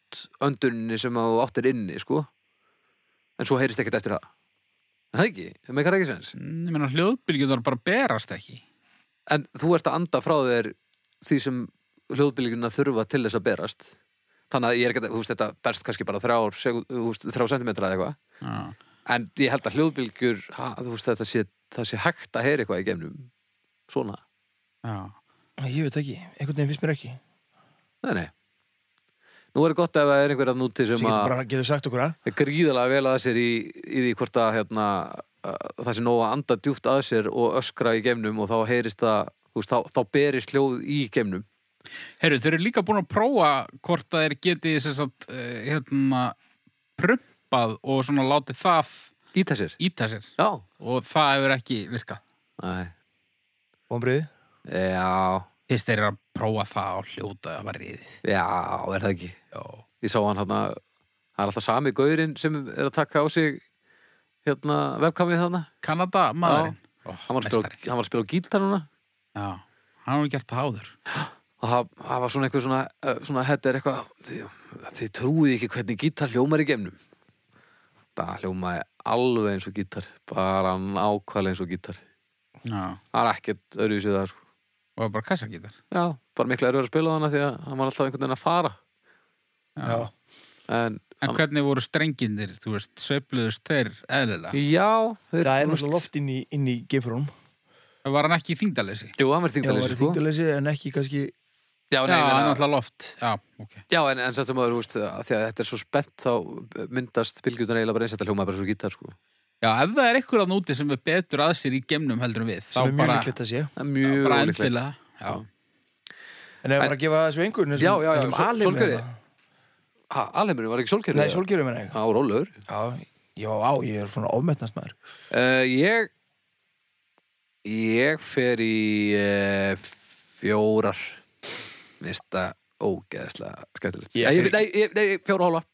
S2: önduninni sem að þú áttir inni, sko en svo heyrist ekkert eftir það en það ekki, það meikar ekki sens
S1: Mm, Ég meina hljóðbylgjurnar bara berast ekki.
S2: en þú ert að anda frá þér því sem hljóðbylgjuna þurfa til þess að berast þannig að ég er ekki að, þú veist, þetta berst kannski bara þrjá, þrjá sentimetra eða eitthvað
S1: Já.
S2: En ég held að hljóðbylgjur, ha, þú veist þetta sé, það sé hægt að heyra eitthvað í geimnum. Svona.
S1: Já.
S3: Ég veit ekki, einhvern veginn finnst mér ekki Sem
S2: Nei, nei. Nú er gott ef það er einhverja núti sem
S3: getur
S2: að
S3: bara getur sagt okkur að
S2: er gríðalega vel að sér í, í því hvort að hérna, að það sé nóg að anda djúpt að sér og öskra í geimnum og þá heyrist það, þú veist, þá, þá berist hljóð í geimnum.
S1: Herru, þeir eru líka búin að prófa hvort að þeir geti sem sagt, eh, hérna, prumpað og svona látið það
S2: Íta sér.
S1: íta sér
S2: Já.
S1: og það hefur ekki virkað.
S2: Nei.
S3: Vombriði
S2: Já,
S1: Fyrst þeir eru að prófa það og hljóta að var riðið.
S2: já, er það ekki.
S1: Já.
S2: Ég sá hann hérna, það er alltaf sami gaurinn sem er að taka á sig hérna vefkamið þarna.
S1: Kanada maðurinn. Ó,
S2: hann var, að spila,
S1: meistari.
S2: hann var að spila á gítar núna
S1: Já. Hann hefur gert það áður.
S2: og það, það var svona eitthvað svona, eh, svona þetta er eitthvað, þið, þið trúið ekki hvernig gítar hljómar í geimnum það hljómaði alveg eins og gítar bara nákvæmlega eins og gítar
S1: Já.
S2: það er ekkert öðruvísið það sko.
S1: Og bara kassagítar.
S2: já, bara mikla erfið að spila þarna því að hann var alltaf einhvern veginn að fara
S1: Já.
S2: en
S1: En hvernig voru strengindir, þú veist, sveifluðust þeir eðlilega?
S2: já, þeir,
S3: Það er
S2: þú veist,
S3: náttúrulega loft inn í, inn í geimfrúnum
S1: Var hann ekki í þingdalesi?
S2: jú, hann verður
S3: Já, það er
S2: þingdalesi sko.
S3: þingdalesi en ekki kannski
S2: já,
S1: Já,
S2: nei, ég
S1: hann
S2: meina-
S1: er alltaf loft. Já, ok.
S2: Já, en, en samt sem maður, þú veist, að því að þetta er svo spennt þá myndast bylgjutan eiginlega bara eins og þetta hljómaði bara svo gítar, sko.
S1: Já, ef það er einhver að núti sem er betur að sér í gemnum heldur en við, þá
S3: sem er mjög
S1: bara,
S3: líklegt að sé
S2: Það er mjög
S1: bara
S2: ólíklegt.
S1: endilega. Já.
S3: En ef bara að gefa þessu einhvern
S2: Já, já, já,
S3: þessum
S2: sól-
S3: alheimi
S2: sólgleri.
S3: hérna.
S2: Ha, alheimurinn var ekki sólkerfið?
S3: Nei, sólgerið meina ég
S2: Já, rólegur.
S3: Já, já, á, ég er svona ofmetnast maður
S2: Uh, ég, ég fer í uh, fjórar. Mér finnst það ógeðslega skemmtilegt.
S3: Ég
S2: Nei,
S3: fer í-
S2: Nei, ég, nei, ég- fjóra og hálfa.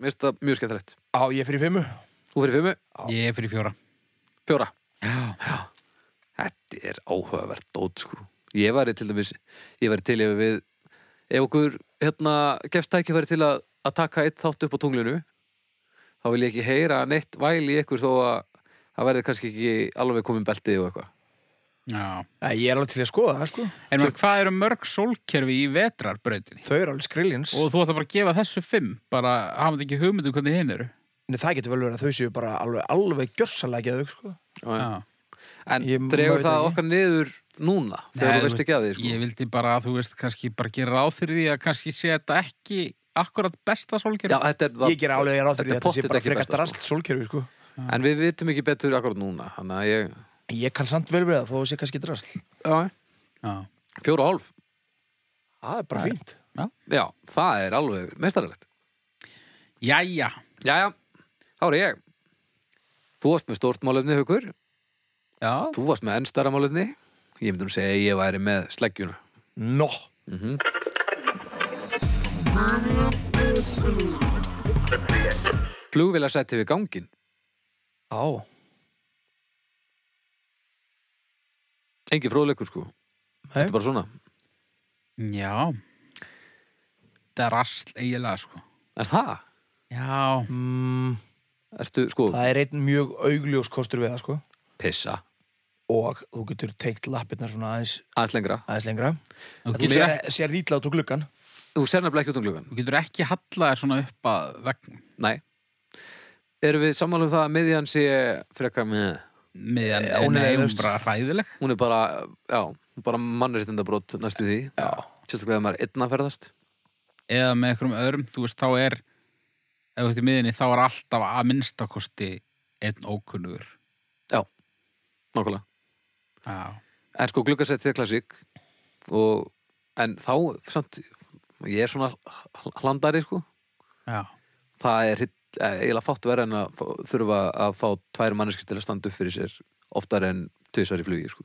S2: Mér finnst það mjög skemmtilegt.
S3: Á, ég fyrir fimmu
S2: Þú fyrir fimmu,
S1: Ég er fyrir fjóra.
S2: fjóra.
S1: Já.
S2: Þetta er áhugavert dót sko Ég væri til dæmis Ég væri til ef við Ef okkur hérna gefst tækifæri til að, að taka eitt þátt upp á tunglinu þá vil ég ekki heyra neitt væl í ykkur þó að það verði kannski ekki alveg komin belti og eitthvað
S1: Já.
S3: Nei, ég er alveg til að skoða það, sko
S1: En man, hvað eru mörg sólkerfi í vetrarbrautinni?
S3: Þau eru alveg skrillins
S1: Og þú ætti bara að gefa þessu fimm, bara hafandi ekki hugmynd um hvernig hinn eru.
S3: Nei, það getur vel verið að þau séu bara alveg, alveg gjörsalega geðug, sko
S1: Já.
S2: En
S3: Ég
S2: dregur
S3: veit
S2: það
S3: ekki.
S2: okkar niður núna þegar
S1: Nei,
S2: þú veist ekki að því sko
S1: Ég vildi bara að þú veist kannski bara gera ráð fyrir því að kannski sé þetta ekki akkurat besta
S2: Já,
S1: sólkerfi.
S2: þetta er það
S3: Ég ger alveg ráð fyrir því að
S2: er
S3: þetta sé
S2: pottþétt
S3: bara
S2: ekki
S3: frekar
S2: besta,
S3: drasl sólkerfi, sko
S2: sko. En við vitum ekki betur akkurat núna Þannig að ég
S3: Ég kann samt vel við það, þó það sé kannski drasl
S2: Já.
S1: Já.
S2: Fjóra og hálf
S3: Það er bara fínt
S2: Já, það er alveg meistaralegt
S1: Jæja.
S2: Jæja, þá er ég Þú varst með stórt málefni, Haukur
S1: Já.
S2: Þú varst með enn stærra málefni Ég myndi nú segja að ég væri með sleggjuna
S3: Nó
S2: Flugvélasætti við gangin
S3: Á,
S2: Engi fróðleikur sko,
S3: nei
S2: þetta er bara svona
S1: Já. Það er rast eiginlega, sko.
S2: Er það?
S1: Já.
S3: mm,
S2: Ertu, sko,
S3: Það er einn mjög augljós kostur við það, sko
S2: pissa
S3: Og þú getur teikt lappirnar svona aðeins,
S2: Aðeins lengra
S3: aðeins lengra
S1: Þú
S3: Þú
S1: getur,
S3: sér,
S1: ekki,
S3: sér rítla út úr gluggan
S2: Þú ser nefnilega ekki út um gluggan
S1: þú getur ekki hallað þér svona upp að vegna.
S2: Nei Erum við sammála um það að miðjan sé frekar með
S1: Miðan,
S3: Eh,
S1: nei, hún
S3: hún er
S1: er
S3: leiðust.
S1: bara hræðileg.
S2: Hún er bara, já, hún er bara mannréttindabrót næstu því
S3: Já.
S2: Sérstaklega að maður er einn að ferðast
S1: Eða með einhverjum öðrum, þú veist, þá er, ef þú ert í miðinni, þá er alltaf að minnstakosti einn ókunnugur.
S2: Já, nákvæmlega
S1: Já.
S2: En sko gluggasætti er klassík og, En þá samt, Ég er svona hl- hlandari sko.
S1: Já.
S2: Það er hitt- eh, eiginlega fátt verið en að fá- þurfa að fá tvær manneskir til að standa upp fyrir sér oftar en tvisar í flugi sko.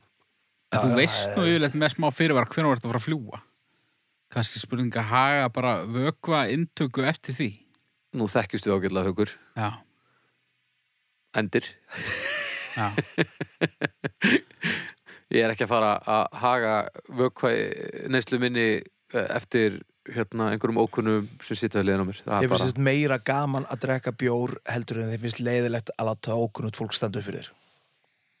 S1: En
S3: Já,
S1: þú
S3: já,
S1: veist
S3: já,
S1: nú
S3: já,
S1: yfirleitt með smá fyrirvara hvernig var þetta að fara að fljúa. Kanski spurning að haga bara vökva inntöku eftir því.
S2: Nú þekkjust við ágætlega haukur
S1: Já.
S2: Endir
S1: Já.
S2: Ég er ekki að fara að haga vökva neyslu minni eh, eftir hérna einhverjum ókunnum sem sitja við liðan á mér. Það
S3: Þeir
S2: er bara,
S3: finnst meira gaman að drekka bjór heldur en þeir finnst leiðilegt að láta ókunnult fólk standa upp fyrir þér.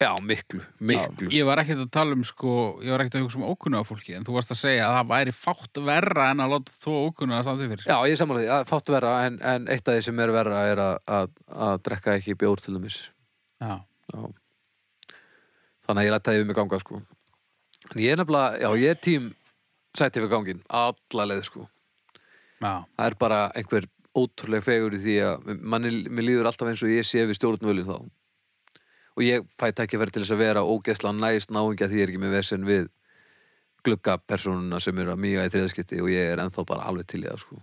S2: já, miklu, miklu.
S1: Ég var ekkert að tala um sko, ég var ekkert að hugsa um ókunna á fólki en þú varst að segja að það væri fátt verra en að láta þó ókunna að standa fyrir
S2: Já, ég er samanlega því, að fátt verra en, en eitt af því sem er verra er að, að, að drekka ekki bjór til dæmis.
S1: Já.
S2: Já. Þannig að ég læta yfir mig ganga sko. En ég er nefnilega, já, ég er tím sætti við gangin, alla leið sko.
S1: Já.
S2: það er bara einhver ótrúlega fegur í því að manni, mér líður alltaf eins og ég sé við stjórnvölin þá og ég fæ tækifæri til þess að vera ógeðslega næst náingja því ég er ekki með vesen við gluggapersónuna sem eru að mýga í þriðaskipti og ég er ennþá bara alveg til í það sko.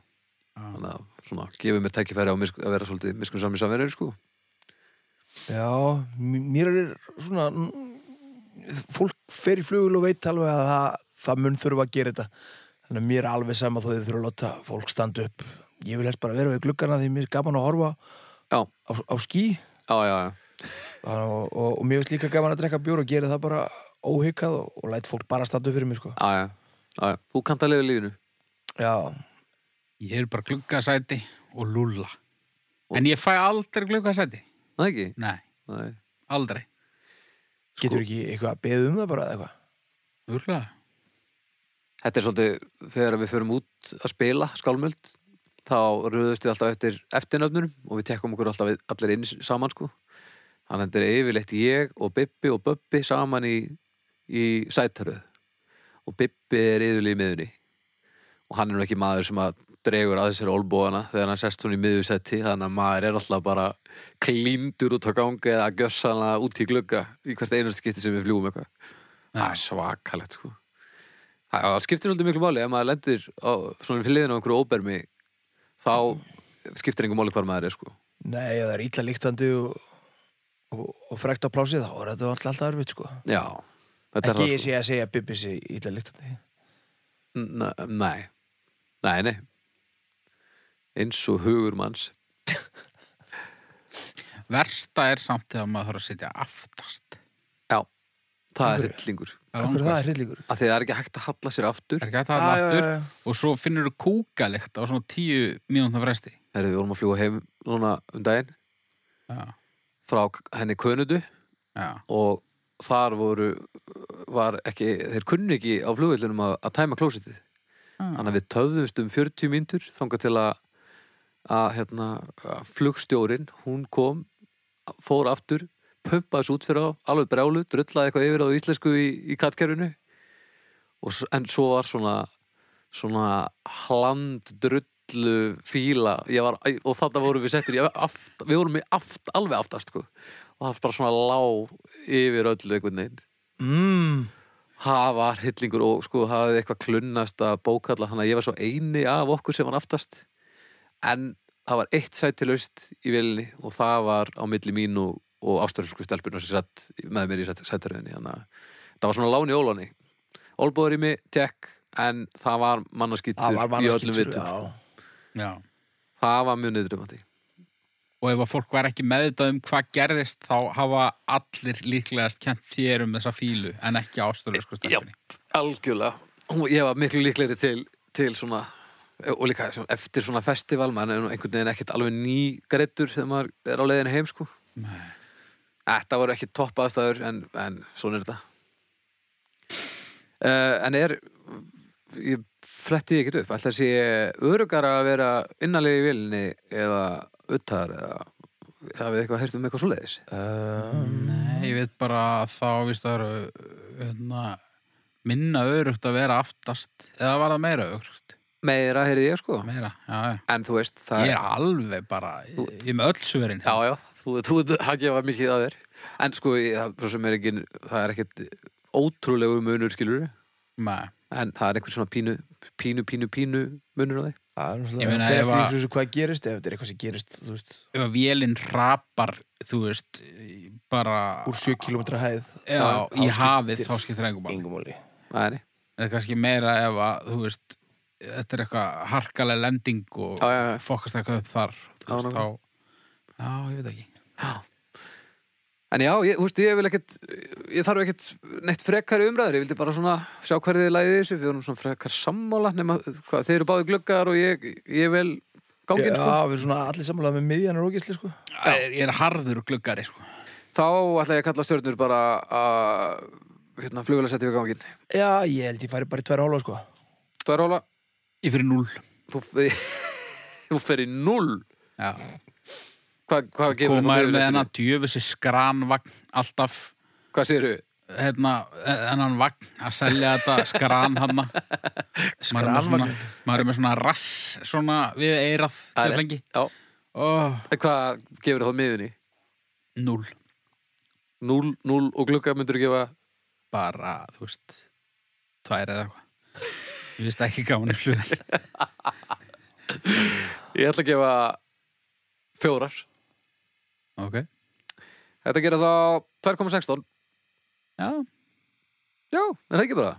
S2: þannig að svona, gefið mér tækifæri á misk, að vera svolítið miskun sami samverður sko.
S3: Já, m- mér er svona mm, fólk fer í flugul og veit alveg að það, það mun þurfa að gera þetta þannig að mér er alveg sama þó þið þurfa að láta fólk standa upp ég vil helst bara vera við gluggana því mér er gaman að horfa
S2: já,
S3: á, á skí
S2: já, já, já
S3: þannig, að- og, og, og mér finnst líka gaman að drekka bjór og gera það bara óhyggað og, og læt fólk bara standa upp fyrir mér sko.
S2: Já, já, já, já. Þú kannt að lifa lífinu
S3: Já,
S1: Ég er bara gluggasæti og lulla. En ég fæ aldrei gluggasæti.
S2: Það ekki?
S1: Nei,
S2: Nei.
S1: aldrei.
S3: getur ekki eitthvað að beða um það bara eða eitthvað
S1: Úrlega.
S2: Þetta er svolítið þegar við förum út að spila skálmöld þá röðust við alltaf eftir eftirnöfnunum og við tekkum okkur alltaf við- allir inn saman sko. Þannig að þetta er yfirleitt ég og Bibbi og Bubbi saman í, í sætaröð og Bibbi er yðurlega í miðunni og hann er nú ekki maður sem að dregur að sér olbóana þegar hann sest hún í miðusetti þannig að maður er alltaf bara klíndur út á gangi eða að gjössana út í glugga í hvert einast skipti sem við fljúum eitthvað. Það er svakalegt sko. Það það skiptir svolítið miklu máli ef maður lendir á, svona fyrir liðin á einhverju óbermi þá skiptir einhver máli hvar maður er sko.
S3: Nei, ef það er illa líktandi og, og, og frekt á plásið þá er þetta alltaf alltaf erfitt sko.
S2: Já, þetta
S3: Ekki
S2: er
S3: ég
S2: það sko.
S3: sé að segja að Bibbi sé illa líktandi
S2: N- Nei, nei, nei eins og hugur manns
S1: Versta er samt þegar maður þarf að sitja aftast.
S2: Já, það er
S3: Af hverju?
S2: hryllingur
S1: Það
S3: Akkur það
S1: langverst.
S3: er hryllíkur
S2: að því það er ekki hægt að halla sér aftur
S1: Er ekki hægt að hafa
S3: Já, já,
S1: aftur
S3: já, já.
S1: og svo finnur þú kúkalikt á svona tíu mínútna fresti.
S2: Þegar við vorum að fljúga heim núna um daginn
S1: Já.
S2: frá henni könudu
S1: Já.
S2: og þar voru var ekki, þeir kunni ekki á flugvillunum að, að tæma klósitið
S1: Ah.
S2: þannig að við töðumst um 40 mínútur þangað til að, að, hérna, að flugstjórin, hún kom fór aftur, pumpaði svo út fyrir á alveg brjálu, drullaði eitthvað yfir á íslensku í, í kattkerfinu og, s- en svo var svona svona hland drullu fíla ég var, æ, og þarna vorum við settir í aft, við vorum í aft, alveg aftast sko. og það var bara svona lá yfir öllu einhvern veginn
S3: mm,
S2: það var hillingur og sko það hafði eitthvað klunnast að bókalla þannig að ég var svo eini af okkur sem var aftast en það var eitt sæti laust í velinni og það var á milli mín og, og ástörfsku stelpurnar sem satt með mér í sæt- sætaröðinni þannig að það var svona láni óláni Olbóður í mig, tjekk en það var
S3: Það
S2: mannaskýttur
S3: var
S2: í öllum
S3: mannarskýtur
S2: vitum
S1: Já.
S2: það var mjög nöðrumandi
S1: Og ef að fólk var ekki meðvitað um hvað gerðist þá hafa allir líklegast kent þér um þessa fílu en ekki ástörðu sko stelpunni.
S2: algjörlega Hún- ég var miklu líklegri til, til svona og líka svona, eftir svona festival maður er nú einhvern veginn ekkert alveg ný greittur þegar maður er á leiðinu heim sko Þetta voru ekki topp aðstæður en, en svona er þetta uh, En er ég fletti því ekkert upp ætla að sé örugara að vera innanlega í vilni eða uttaðar eða hafið þið eitthvað heyrt um eitthvað svoleiðis
S3: um,
S1: Nei, ég veit bara að þá víst það eru hérna, minna örugt að vera aftast eða var það meira örugt?
S2: Meira heyrði ég sko
S1: Meira, já, já.
S2: En þú veist, það
S1: Ég er alveg bara, ég er með öll svörin. hérna.
S2: Já, já, þú, þú, þú það gefa mikið að þér En sko, ég, það, svo sem er ekki það er ekkert ótrúlegu munur skilur
S1: Nei.
S2: en það er einhvern svona pínu pínu, pínu, pínu munur á því
S3: Það er
S1: Ég meina,
S3: náttúrulega þegar
S1: ef
S3: því
S1: að-
S3: þessu hvað gerist ef þetta er eitthvað sem gerist þú veist,
S1: Ef að vélinn rapar, þú veist, bara
S3: úr 7 km hæð
S1: já,
S3: þá
S1: í
S3: skiptir
S1: hafið þá skiptir engum máli.
S3: Engum máli
S2: Það er
S1: eða kannski meira ef að þú veist, þetta er eitthvað harkalega lending og
S2: Já, já, já.
S1: fokast eitthvað upp þar þú
S2: Já,
S1: veist,
S2: nákvæmlega.
S1: þá, já, ég veit ekki
S2: En já, ég, þú veist, ég vil ekkert, ég þarf ekkert neitt frekari umræður, ég vildi bara svona sjá hverju þið læðið þessu, við vorum svona frekar sammála, nema hvað, þeir eru báði gluggar og ég, ég vel gangin, sko.
S3: Já, við erum svona allir sammálaðið með miðjan og rókisli, sko.
S1: Ég er harður gluggari, sko.
S2: Þá ætla ég að kalla stjörnur bara að, hérna, flugulega setja við gangin.
S3: Já, ég held ég færi bara í tverja hóla, sko.
S2: Þú er óla,
S1: Ég fyrir núl.
S2: þú, [laughs] þú fer í null.
S1: Já.
S2: Hvað, hvað gefur þú
S1: Koma er með
S2: meira
S1: hennar
S2: setinu?
S1: djöfusi skranvagn alltaf,
S2: Hvað séru?
S1: hérna, hennan vagn að selja
S2: [laughs]
S1: þetta skran hanna.
S3: Skranvagn.
S1: Maður er með svona rass, svona við eirað til fengi.
S2: Já,
S1: Ó,
S2: hvað gefur þú miðinni?
S1: núl.
S2: Null, null og glugga myndur gefa
S1: Bara, þú veist, tvær eða eitthvað. Ég veist ekki gaman í flugvel.
S2: Ég ætla að gefa fjórar.
S1: Ok.
S2: Þetta gerir þá 2,16.
S1: Já,
S2: Já, en það ekki bara.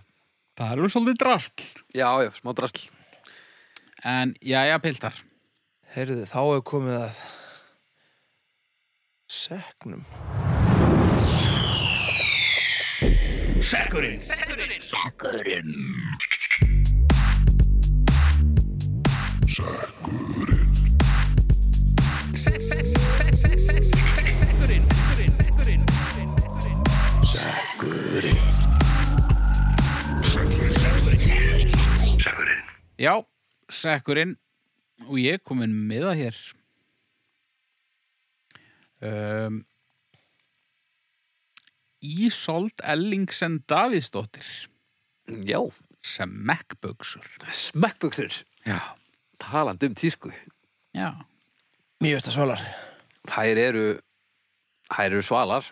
S1: það er alveg svolítið drastl.
S2: Já, já, smá drasl.
S1: En, jæja, piltar.
S3: Heyrðu, þá hefur komið að seknum.
S1: Sekkurinn! Sekkurinn! Sekkurinn! Sekkurinn! Sekkurinn! Já, sekkurinn og ég komin með það hér um, Ísold Ellingsen Davíðsdóttir
S2: Já.
S1: smekkböksur
S2: Smekkbuxur.
S1: já,
S2: Talandi um tísku.
S1: já,
S3: Mjög veist að svalar.
S2: Þær eru, þær eru svalar.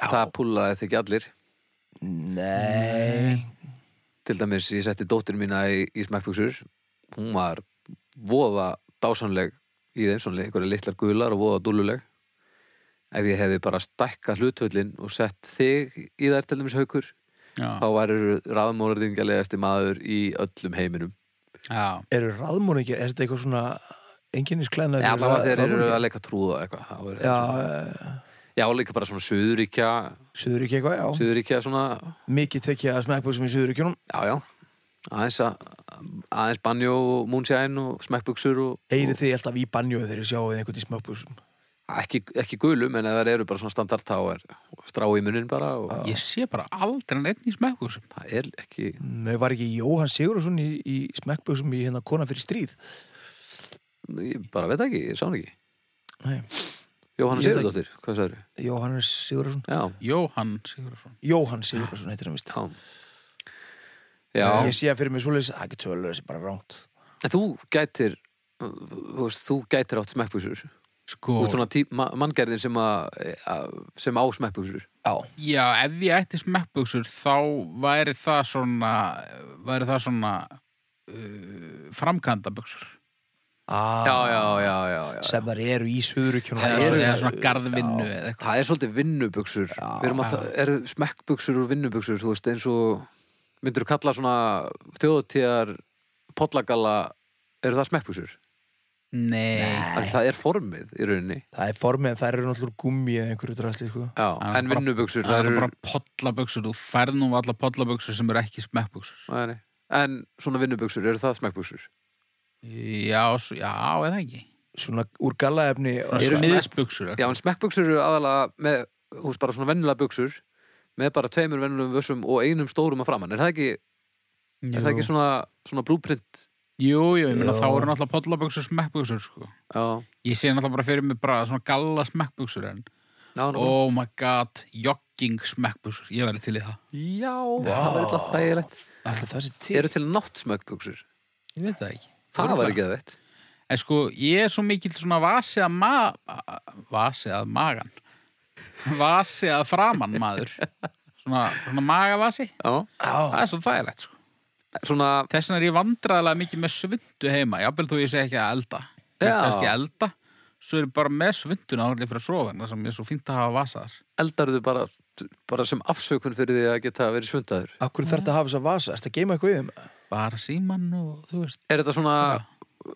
S3: Já.
S2: Það púlaði þetta ekki allir.
S3: Nei.
S2: Til dæmis, ég setti dóttur mína í, í smekkbuxur. Hún var voða dásanleg í þeim, svona einhverja litlar gular og voða dúluleg. Ef ég hefði bara stækkað hlutvöllin og sett þig í þær til dæmis haukur,
S1: já,
S2: þá værið raðmólarðingjalegasti maður í öllum heiminum.
S1: já.
S3: Eru ráðmóningir, er þetta eitthvað svona enginnisklæðna?
S2: Já, allavega þeir eru að leika trúða eitthvað. þá er-
S3: Já,
S2: já, líka bara svona suðuríkja,
S3: suður ekki eitthvað, já.
S2: suðuríkja svona,
S3: Mikið tvekja smekkbúsum í suður ekki honum.
S2: já, já, aðeins, að, aðeins banjó og moonshine og smekkbuxur og,
S3: Eyrið þið alltaf í banjóið þegar þið sjáuð einhvern í smekkbúsum.
S2: og ekki, ekki gulum, en ef það eru bara svona standart þá er strá í munin bara og
S1: ég sé bara aldrei neitt í smekkböksum
S2: það er ekki,
S3: Nei, var ekki Jóhann Sigurðsson í, í smekkbúsum í hérna kona fyrir stríð?
S2: ég bara veit ekki, ég sá hann ekki.
S3: Nei,
S2: Jóhanna
S3: Ég veit
S2: Sigurðardóttir, hvað sagður?
S3: Jóhann Sigurðsson.
S2: Já,
S1: Jóhann Sigurðarsson
S3: Jóhann Sigurðsson heitir hann vist.
S2: já. Já,
S3: Ég sé að fyrir mig svoleiðis, það er ekki tölur, þessi bara ránt.
S2: en þú gætir, þú veist, þú gætir átt smekkbuxur.
S1: sko,
S2: Þú veist svona tí, ma manngerðin sem, að- eh, að- sem á smekkbuxur.
S3: Já.
S1: já, ef ég ætti smekkböksur þá væri það svona væri það svona uh, framkanda böksur
S3: Ah,
S2: já, já, já, já, já.
S3: sem þar eru í suðurukjónum
S1: eða, svo, eða svona garðvinnu eða eitthvað
S2: það er svolítið vinnubuxur við erum að ta- eru smekkbuxur og vinnubuxur þú veist eins og myndur þú kalla svona þjóðutíðar pollagalla, eru það smekkbuxur
S1: nei,
S2: Af því það er formið í rauninni
S3: það er formið en það eru náttúrulega gummi eða einhverju drasli sko.
S2: já,
S1: Það er
S2: en
S1: bara-
S2: vinnubuxur
S1: það
S2: það
S1: eru
S2: eru
S1: bara pollaböksur þú færð nú alla pollaböksur sem eru ekki smekkböksur
S2: Nei, nei. en svona vinnubuxur, eru það smekkbuxur
S1: já, svo, já, eða ekki
S3: svona úr gallaefni
S1: svona smiðsböksur
S2: já, en smekkbuxur eru aðalega með, þú veist, bara svona vennulega buxur með bara tveimur vennulegum vössum og einum stórum að framann, er það ekki, er það ekki svona, svona blúprint
S1: jú, jú, ég meina
S3: Já.
S1: þá eru náttúrulega pollaböksur smekkböksur sko
S2: já,
S1: Ég sé náttúrulega bara fyrir mig bara svona galla smekkbuksur en
S2: já, nú-
S1: Oh my god, jogging smekkbuksur Ég verði til í það
S2: já það er eitthvað þægilegt
S3: alltaf það sé til
S2: eru til nátt smekkbuxur
S1: Ég veit það ekki
S2: Það var ekki það veitt
S1: En sko, ég er svo mikill svona vasi að ma... Vasi að magan Vasi að framan maður Svona, svona magavasi
S2: Já
S1: Það er svo þægilegt sko
S2: Svona,
S1: Þess vegna er ég vandræðilega mikið með svindu heima Jafnvel þó ég sé ekki að elda Ég
S2: Já.
S1: er kannski að elda Svo er ég bara með svinduna áhriflega fyrir að sofa vegna sem ég er svo fínt að hafa vasaðar
S2: eldarðu bara, bara sem afsökun fyrir því að geta verið svundaður
S3: akkur þarf þetta að hafa þess að vasa, ertu að geima eitthvað í þeim
S1: Bara síman og þú veist
S2: Er þetta svona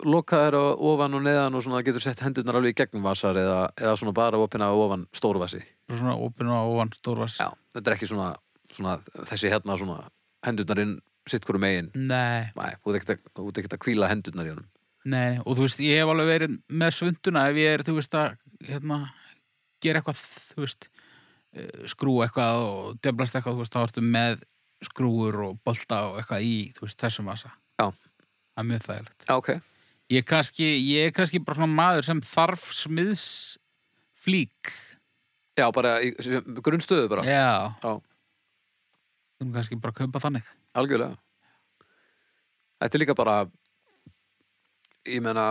S2: lokaður á ofan og neðan og svona getur sett hendurnar alveg í gegnum vasar eða, eða svona bara opina á ofan stórvasi
S1: bara svona opinn og ofan stórvas
S2: Já, þetta er ekki svona, svona þessi hérna svona hendurnarinn sitt hverju megin
S1: nei,
S2: Nei, þú ert ekkert að- þú ert ekkert að hvíla hendurnar í honum
S1: nei, nei, og þú veist, ég hef alveg verið með svunduna ef ég er, þú veist, að hérna, gera eitthvað, þú veist eh, skrúa eitthvað og döblast eitthvað, þú veist, þá ertu með skrúur og bolta og eitthvað í, þú veist, þessum vasa
S2: Já,
S1: það er mjög þægilegt
S2: já, ok
S1: ég er kannski, ég er kannski bara svona maður sem þarf smiðs flík
S2: Já, bara í sem- grunnstöðu bara
S1: já,
S2: Já,
S1: þú erum kannski bara að kaupa þannig
S2: algjörlega Þetta er líka bara ég meina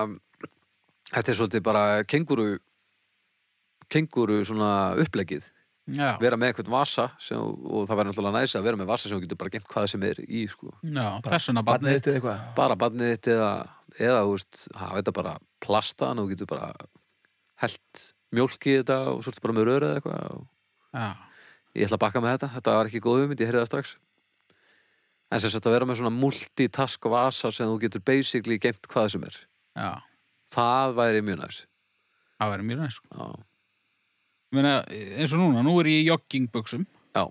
S2: þetta er svolítið bara kenguru kenguru svona upplegið
S1: já,
S2: vera með eitthvað vasa sem, og það væri náttúrulega næs að vera með vasa sem þú getur bara gengt hvað sem er í sko.
S1: já þessuna barnið
S3: Barnið þetta eða eitthvað
S2: bara barnið þitt eða, eða þú veist, hafa þetta bara plasta og þú getur bara held mjólk í þetta og svolítið bara með röru eða eitthvað og
S1: já,
S2: ég ætla að bakka með þetta, þetta var ekki góð hugmynd, ég heyrði það strax en sem sagt að vera með svona multitask vasa sem þú getur basically geimt hvað sem er
S1: já,
S2: það væri mjög næs
S1: það verður mjög næst
S2: Já.
S1: Meina, eins og núna, nú er ég í joggingbuxum
S2: Já.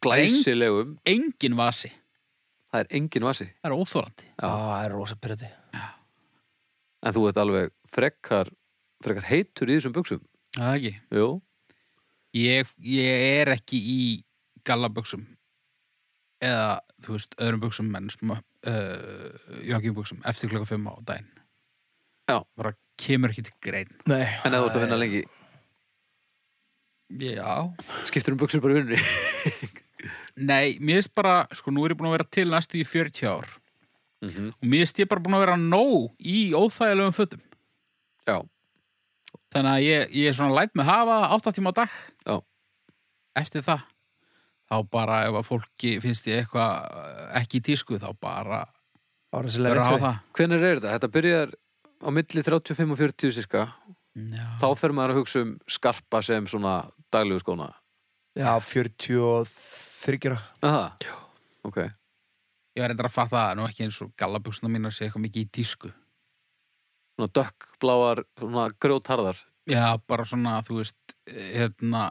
S2: glæsilegum,
S1: engin vasi,
S2: það er engin vasi
S1: það er óþólandi
S2: Já.
S3: Á, það er rosa pyrrandi
S2: en þú ert alveg frekar frekar heitur í þessum buksum
S1: það er ekki,
S2: Jú.
S1: ég, ég er ekki í gallabuxum eða, þú veist, öðrum buxum en smá, uh, joggingbuxum eftir klokka 5 á daginn
S2: Já.
S1: bara kemur ekki til grein
S3: Nei,
S2: en ef þú ert að finna lengi
S1: já,
S2: skiptur um buksur bara í vinnunni [laughs]
S1: Nei, mér finnst bara, sko, nú er ég búin að vera til næstu í 40 ár og mér finnst ég bara búin að vera nóg í óþægilegum fötum.
S2: Já,
S1: Þannig að ég, ég er svona læt með hafa 8 tíma á dag
S2: já,
S1: eftir það. Þá bara ef að fólki finnst ég eitthvað eh, ekki í tísku, þá bara
S3: bara
S1: vera
S3: sérlega
S1: að
S3: rétt
S1: hafa
S3: við
S1: það.
S2: hvenær er þetta? Þetta byrjar á milli 35 og 40 cirka
S1: Já,
S2: þá fer maður að hugsa um skarpa sem svona daglegu skóna
S3: Já, 43
S2: Aha. Já Ok,
S1: ég var eitthvað að fatta það, nú ekki eins og gallabuxna mínar sé eitthvað mikið í tísku.
S2: svona dökkbláar, svona grjótharðar
S1: Já, bara svona, þú veist, eh, hérna,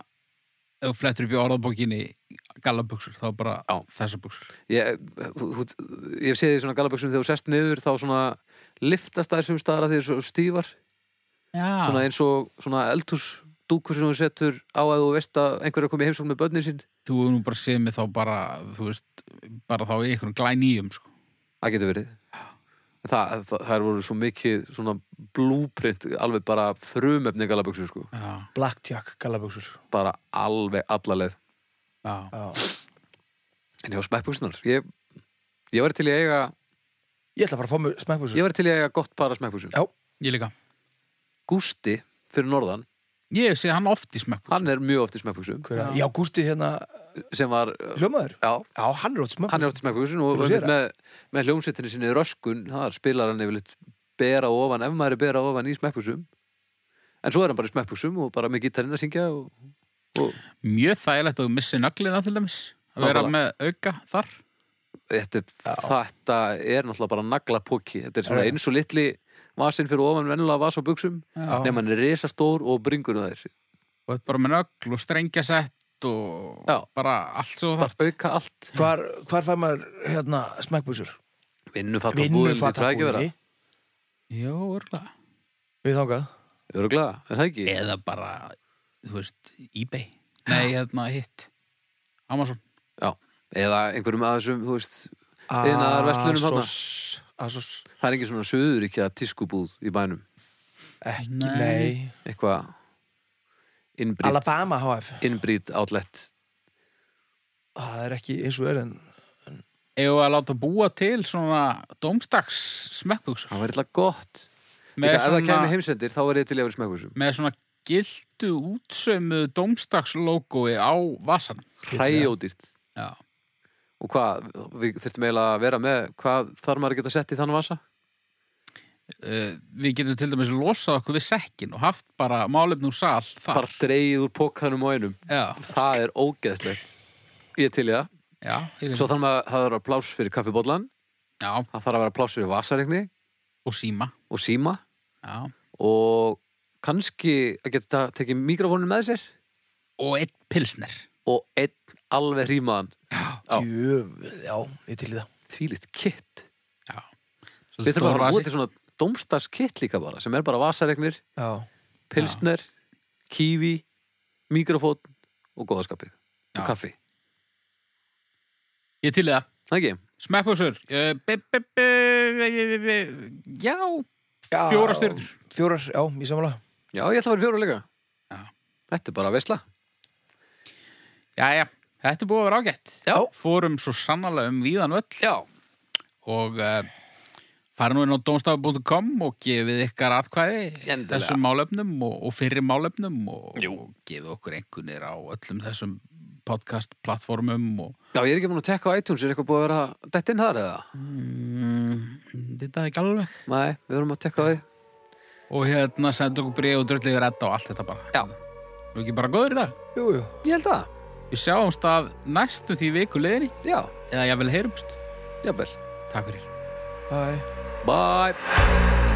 S1: ef þú flettur upp í orðabókinni gallabuxur, þá bara
S2: Já.
S1: þessar buxur.
S2: Ég, hú- hú- ég sé því svona galaböksum þegar þú sest niður þá svona liftast þær sem staðar að því svo stífar
S1: Já.
S2: svona eins og svona eldhúsdúkur sem þú setur á að þú veist að einhver er að koma í heimsókn með börnin sín
S1: þú hefur nú bara séð mig þá bara, þú veist, bara þá í einhvern glænýjum, sko.
S2: Það getur verið Það, það, það voru svo mikið svona blúprint, alveg bara frumefni galaböksur sko,
S1: Já,
S3: Blackjack gallabuxur
S2: bara alveg allaleið
S1: já.
S3: Já.
S2: En já, smekkbuksunar Ég, ég væri til í að eiga
S3: Ég ætla bara að fá mig
S2: Ég
S3: smekkbuxur
S2: væri til í að eiga gott para smekkbuksun
S3: Já,
S1: Ég líka.
S2: Gústi, fyrir norðan,
S1: Ég hef séð hann oft í smekk.
S2: hann er mjög oft í smekkbuksun
S3: hver er Já, Gústi hérna
S2: sem var, uh,
S3: Hljómaður
S2: já,
S3: Já, hann er ótt smekkbuxur
S2: hann er oft í smekkbuksun og
S3: Þú
S2: og
S3: sér það.
S2: með, með hljómsveitinni sinni Röskun, þar spilar hann yfirleitt bera ofan, ef maður er bera ofan í smekkbuksun En svo er hann bara í smekkbuksun og bara með gítarinn að syngja og, og
S1: Mjög þægilegt að þú missi nöglina til dæmis. Að vera
S2: Nákvæmlega.
S1: með auka þar.
S2: þetta, þetta er náttúrulega bara naglapóki þetta er svona
S3: Já.
S2: eins og litli vasinn fyrir ofan vennilega vas á buksum
S1: Já.
S2: nema hann er risastór og bringur það er
S1: Og þetta bara með nögl og strengjasett og
S2: Já.
S1: bara allt svo þar.
S2: bara auka allt
S3: Hvar, hvar fær maður hérna smekkbuxur?
S2: vinnufattabúðin, þetta er ekki að vera
S1: Jó, örgulega.
S3: Við þangað
S2: öruglega, er það ekki?
S1: Eða bara, þú veist, eBay. Nei, hérna hitt. Amazon.
S2: Já. eða einhverjum að þessum þú veist,
S3: Ah,
S2: Iðnaðar verslunum þarna.
S3: Asos Asos
S2: það er ekki svona söðuríkja tískubúð í bænum
S3: Ekki,
S1: Nei.
S3: nei
S2: eitthvað innbrýtt
S3: Alabama HF
S2: innbrýt outlet
S3: Ah, Það er ekki eins og er en
S1: Eða að láta búa til svona dómstags smekkbuksur.
S2: það var eitthvað gott
S1: Með
S2: Líka, ef það
S1: svona-
S2: kæmi heimsendir þá er ég til ég að vera smekkvísum
S1: með svona gildu útsömu dómstagslógoi á vasan
S2: hræjódýrt
S1: Já.
S2: og hvað, við þurftum eiginlega að vera með hvað þarf maður að geta sett í þann vasa?
S1: Uh, við getum til dæmis losað okkur við sekkin og haft bara málefn úr sal þar
S2: bara dreigð úr pókanum og einum
S1: Já,
S2: það er ógeðslegt ég er til í það
S1: já, ég
S2: svo
S1: veit.
S2: þarf maður, það þarf að vera pláss fyrir kaffibóllan
S1: já,
S2: það þarf að vera pláss fyrir vasaregni
S1: og síma
S2: og síma
S1: Já,
S2: og kannski að geta tekið mikrofónum með sér
S1: og einn pilsner.
S2: og einn alveg rímaðan Já.
S3: Djöfull, já, ég til í það
S2: tvílitt kitt
S1: Já.
S2: við þurfum að fara út í svona domstarskitt líka bara sem er bara vasaregnir,
S3: Já,
S2: pilsner kífi, mikrofón og góðaskapið
S1: Já.
S2: og kaffi,
S1: Ég til í það.
S2: það ekki?
S1: Smekkbúsur. Uh, be- be- be- be- Já,
S3: já
S1: Fjórar stjörnur.
S3: Fjórar, já, ég samanlega
S2: Já, ég ætla að vera fjóra líka
S1: Já.
S2: Þetta er bara að veisla
S1: já, já. Þetta er búið að vera ágætt.
S2: Já.
S1: Fórum svo sannarlega um víðan völl
S2: Já,
S1: og uh, fara nú inn á domstafu.com og gefið ykkar atkvæði
S2: Endilega.
S1: þessum málefnum og, og fyrir málefnum og,
S2: Jú.
S1: og gefið okkur einhvernir á öllum þessum podcast-plattformum og
S2: Já, ég er ekki búin að tekka á iTunes, er eitthvað búið að vera dett inn þar eða?
S1: mm, þetta er ekki alveg
S2: Nei, við verum að tekka á því
S1: og hérna senda okkur bregð og dröllið við redda og allt þetta bara
S2: Já.
S1: Við ekki bara góður í dag
S3: Jú, jú
S2: Ég held að,
S1: Við sjáumst að næstu því viku leðinni
S2: já,
S1: eða ég vil heyrumst
S2: jafnvel
S1: Takk fyrir
S3: Bye
S2: Bye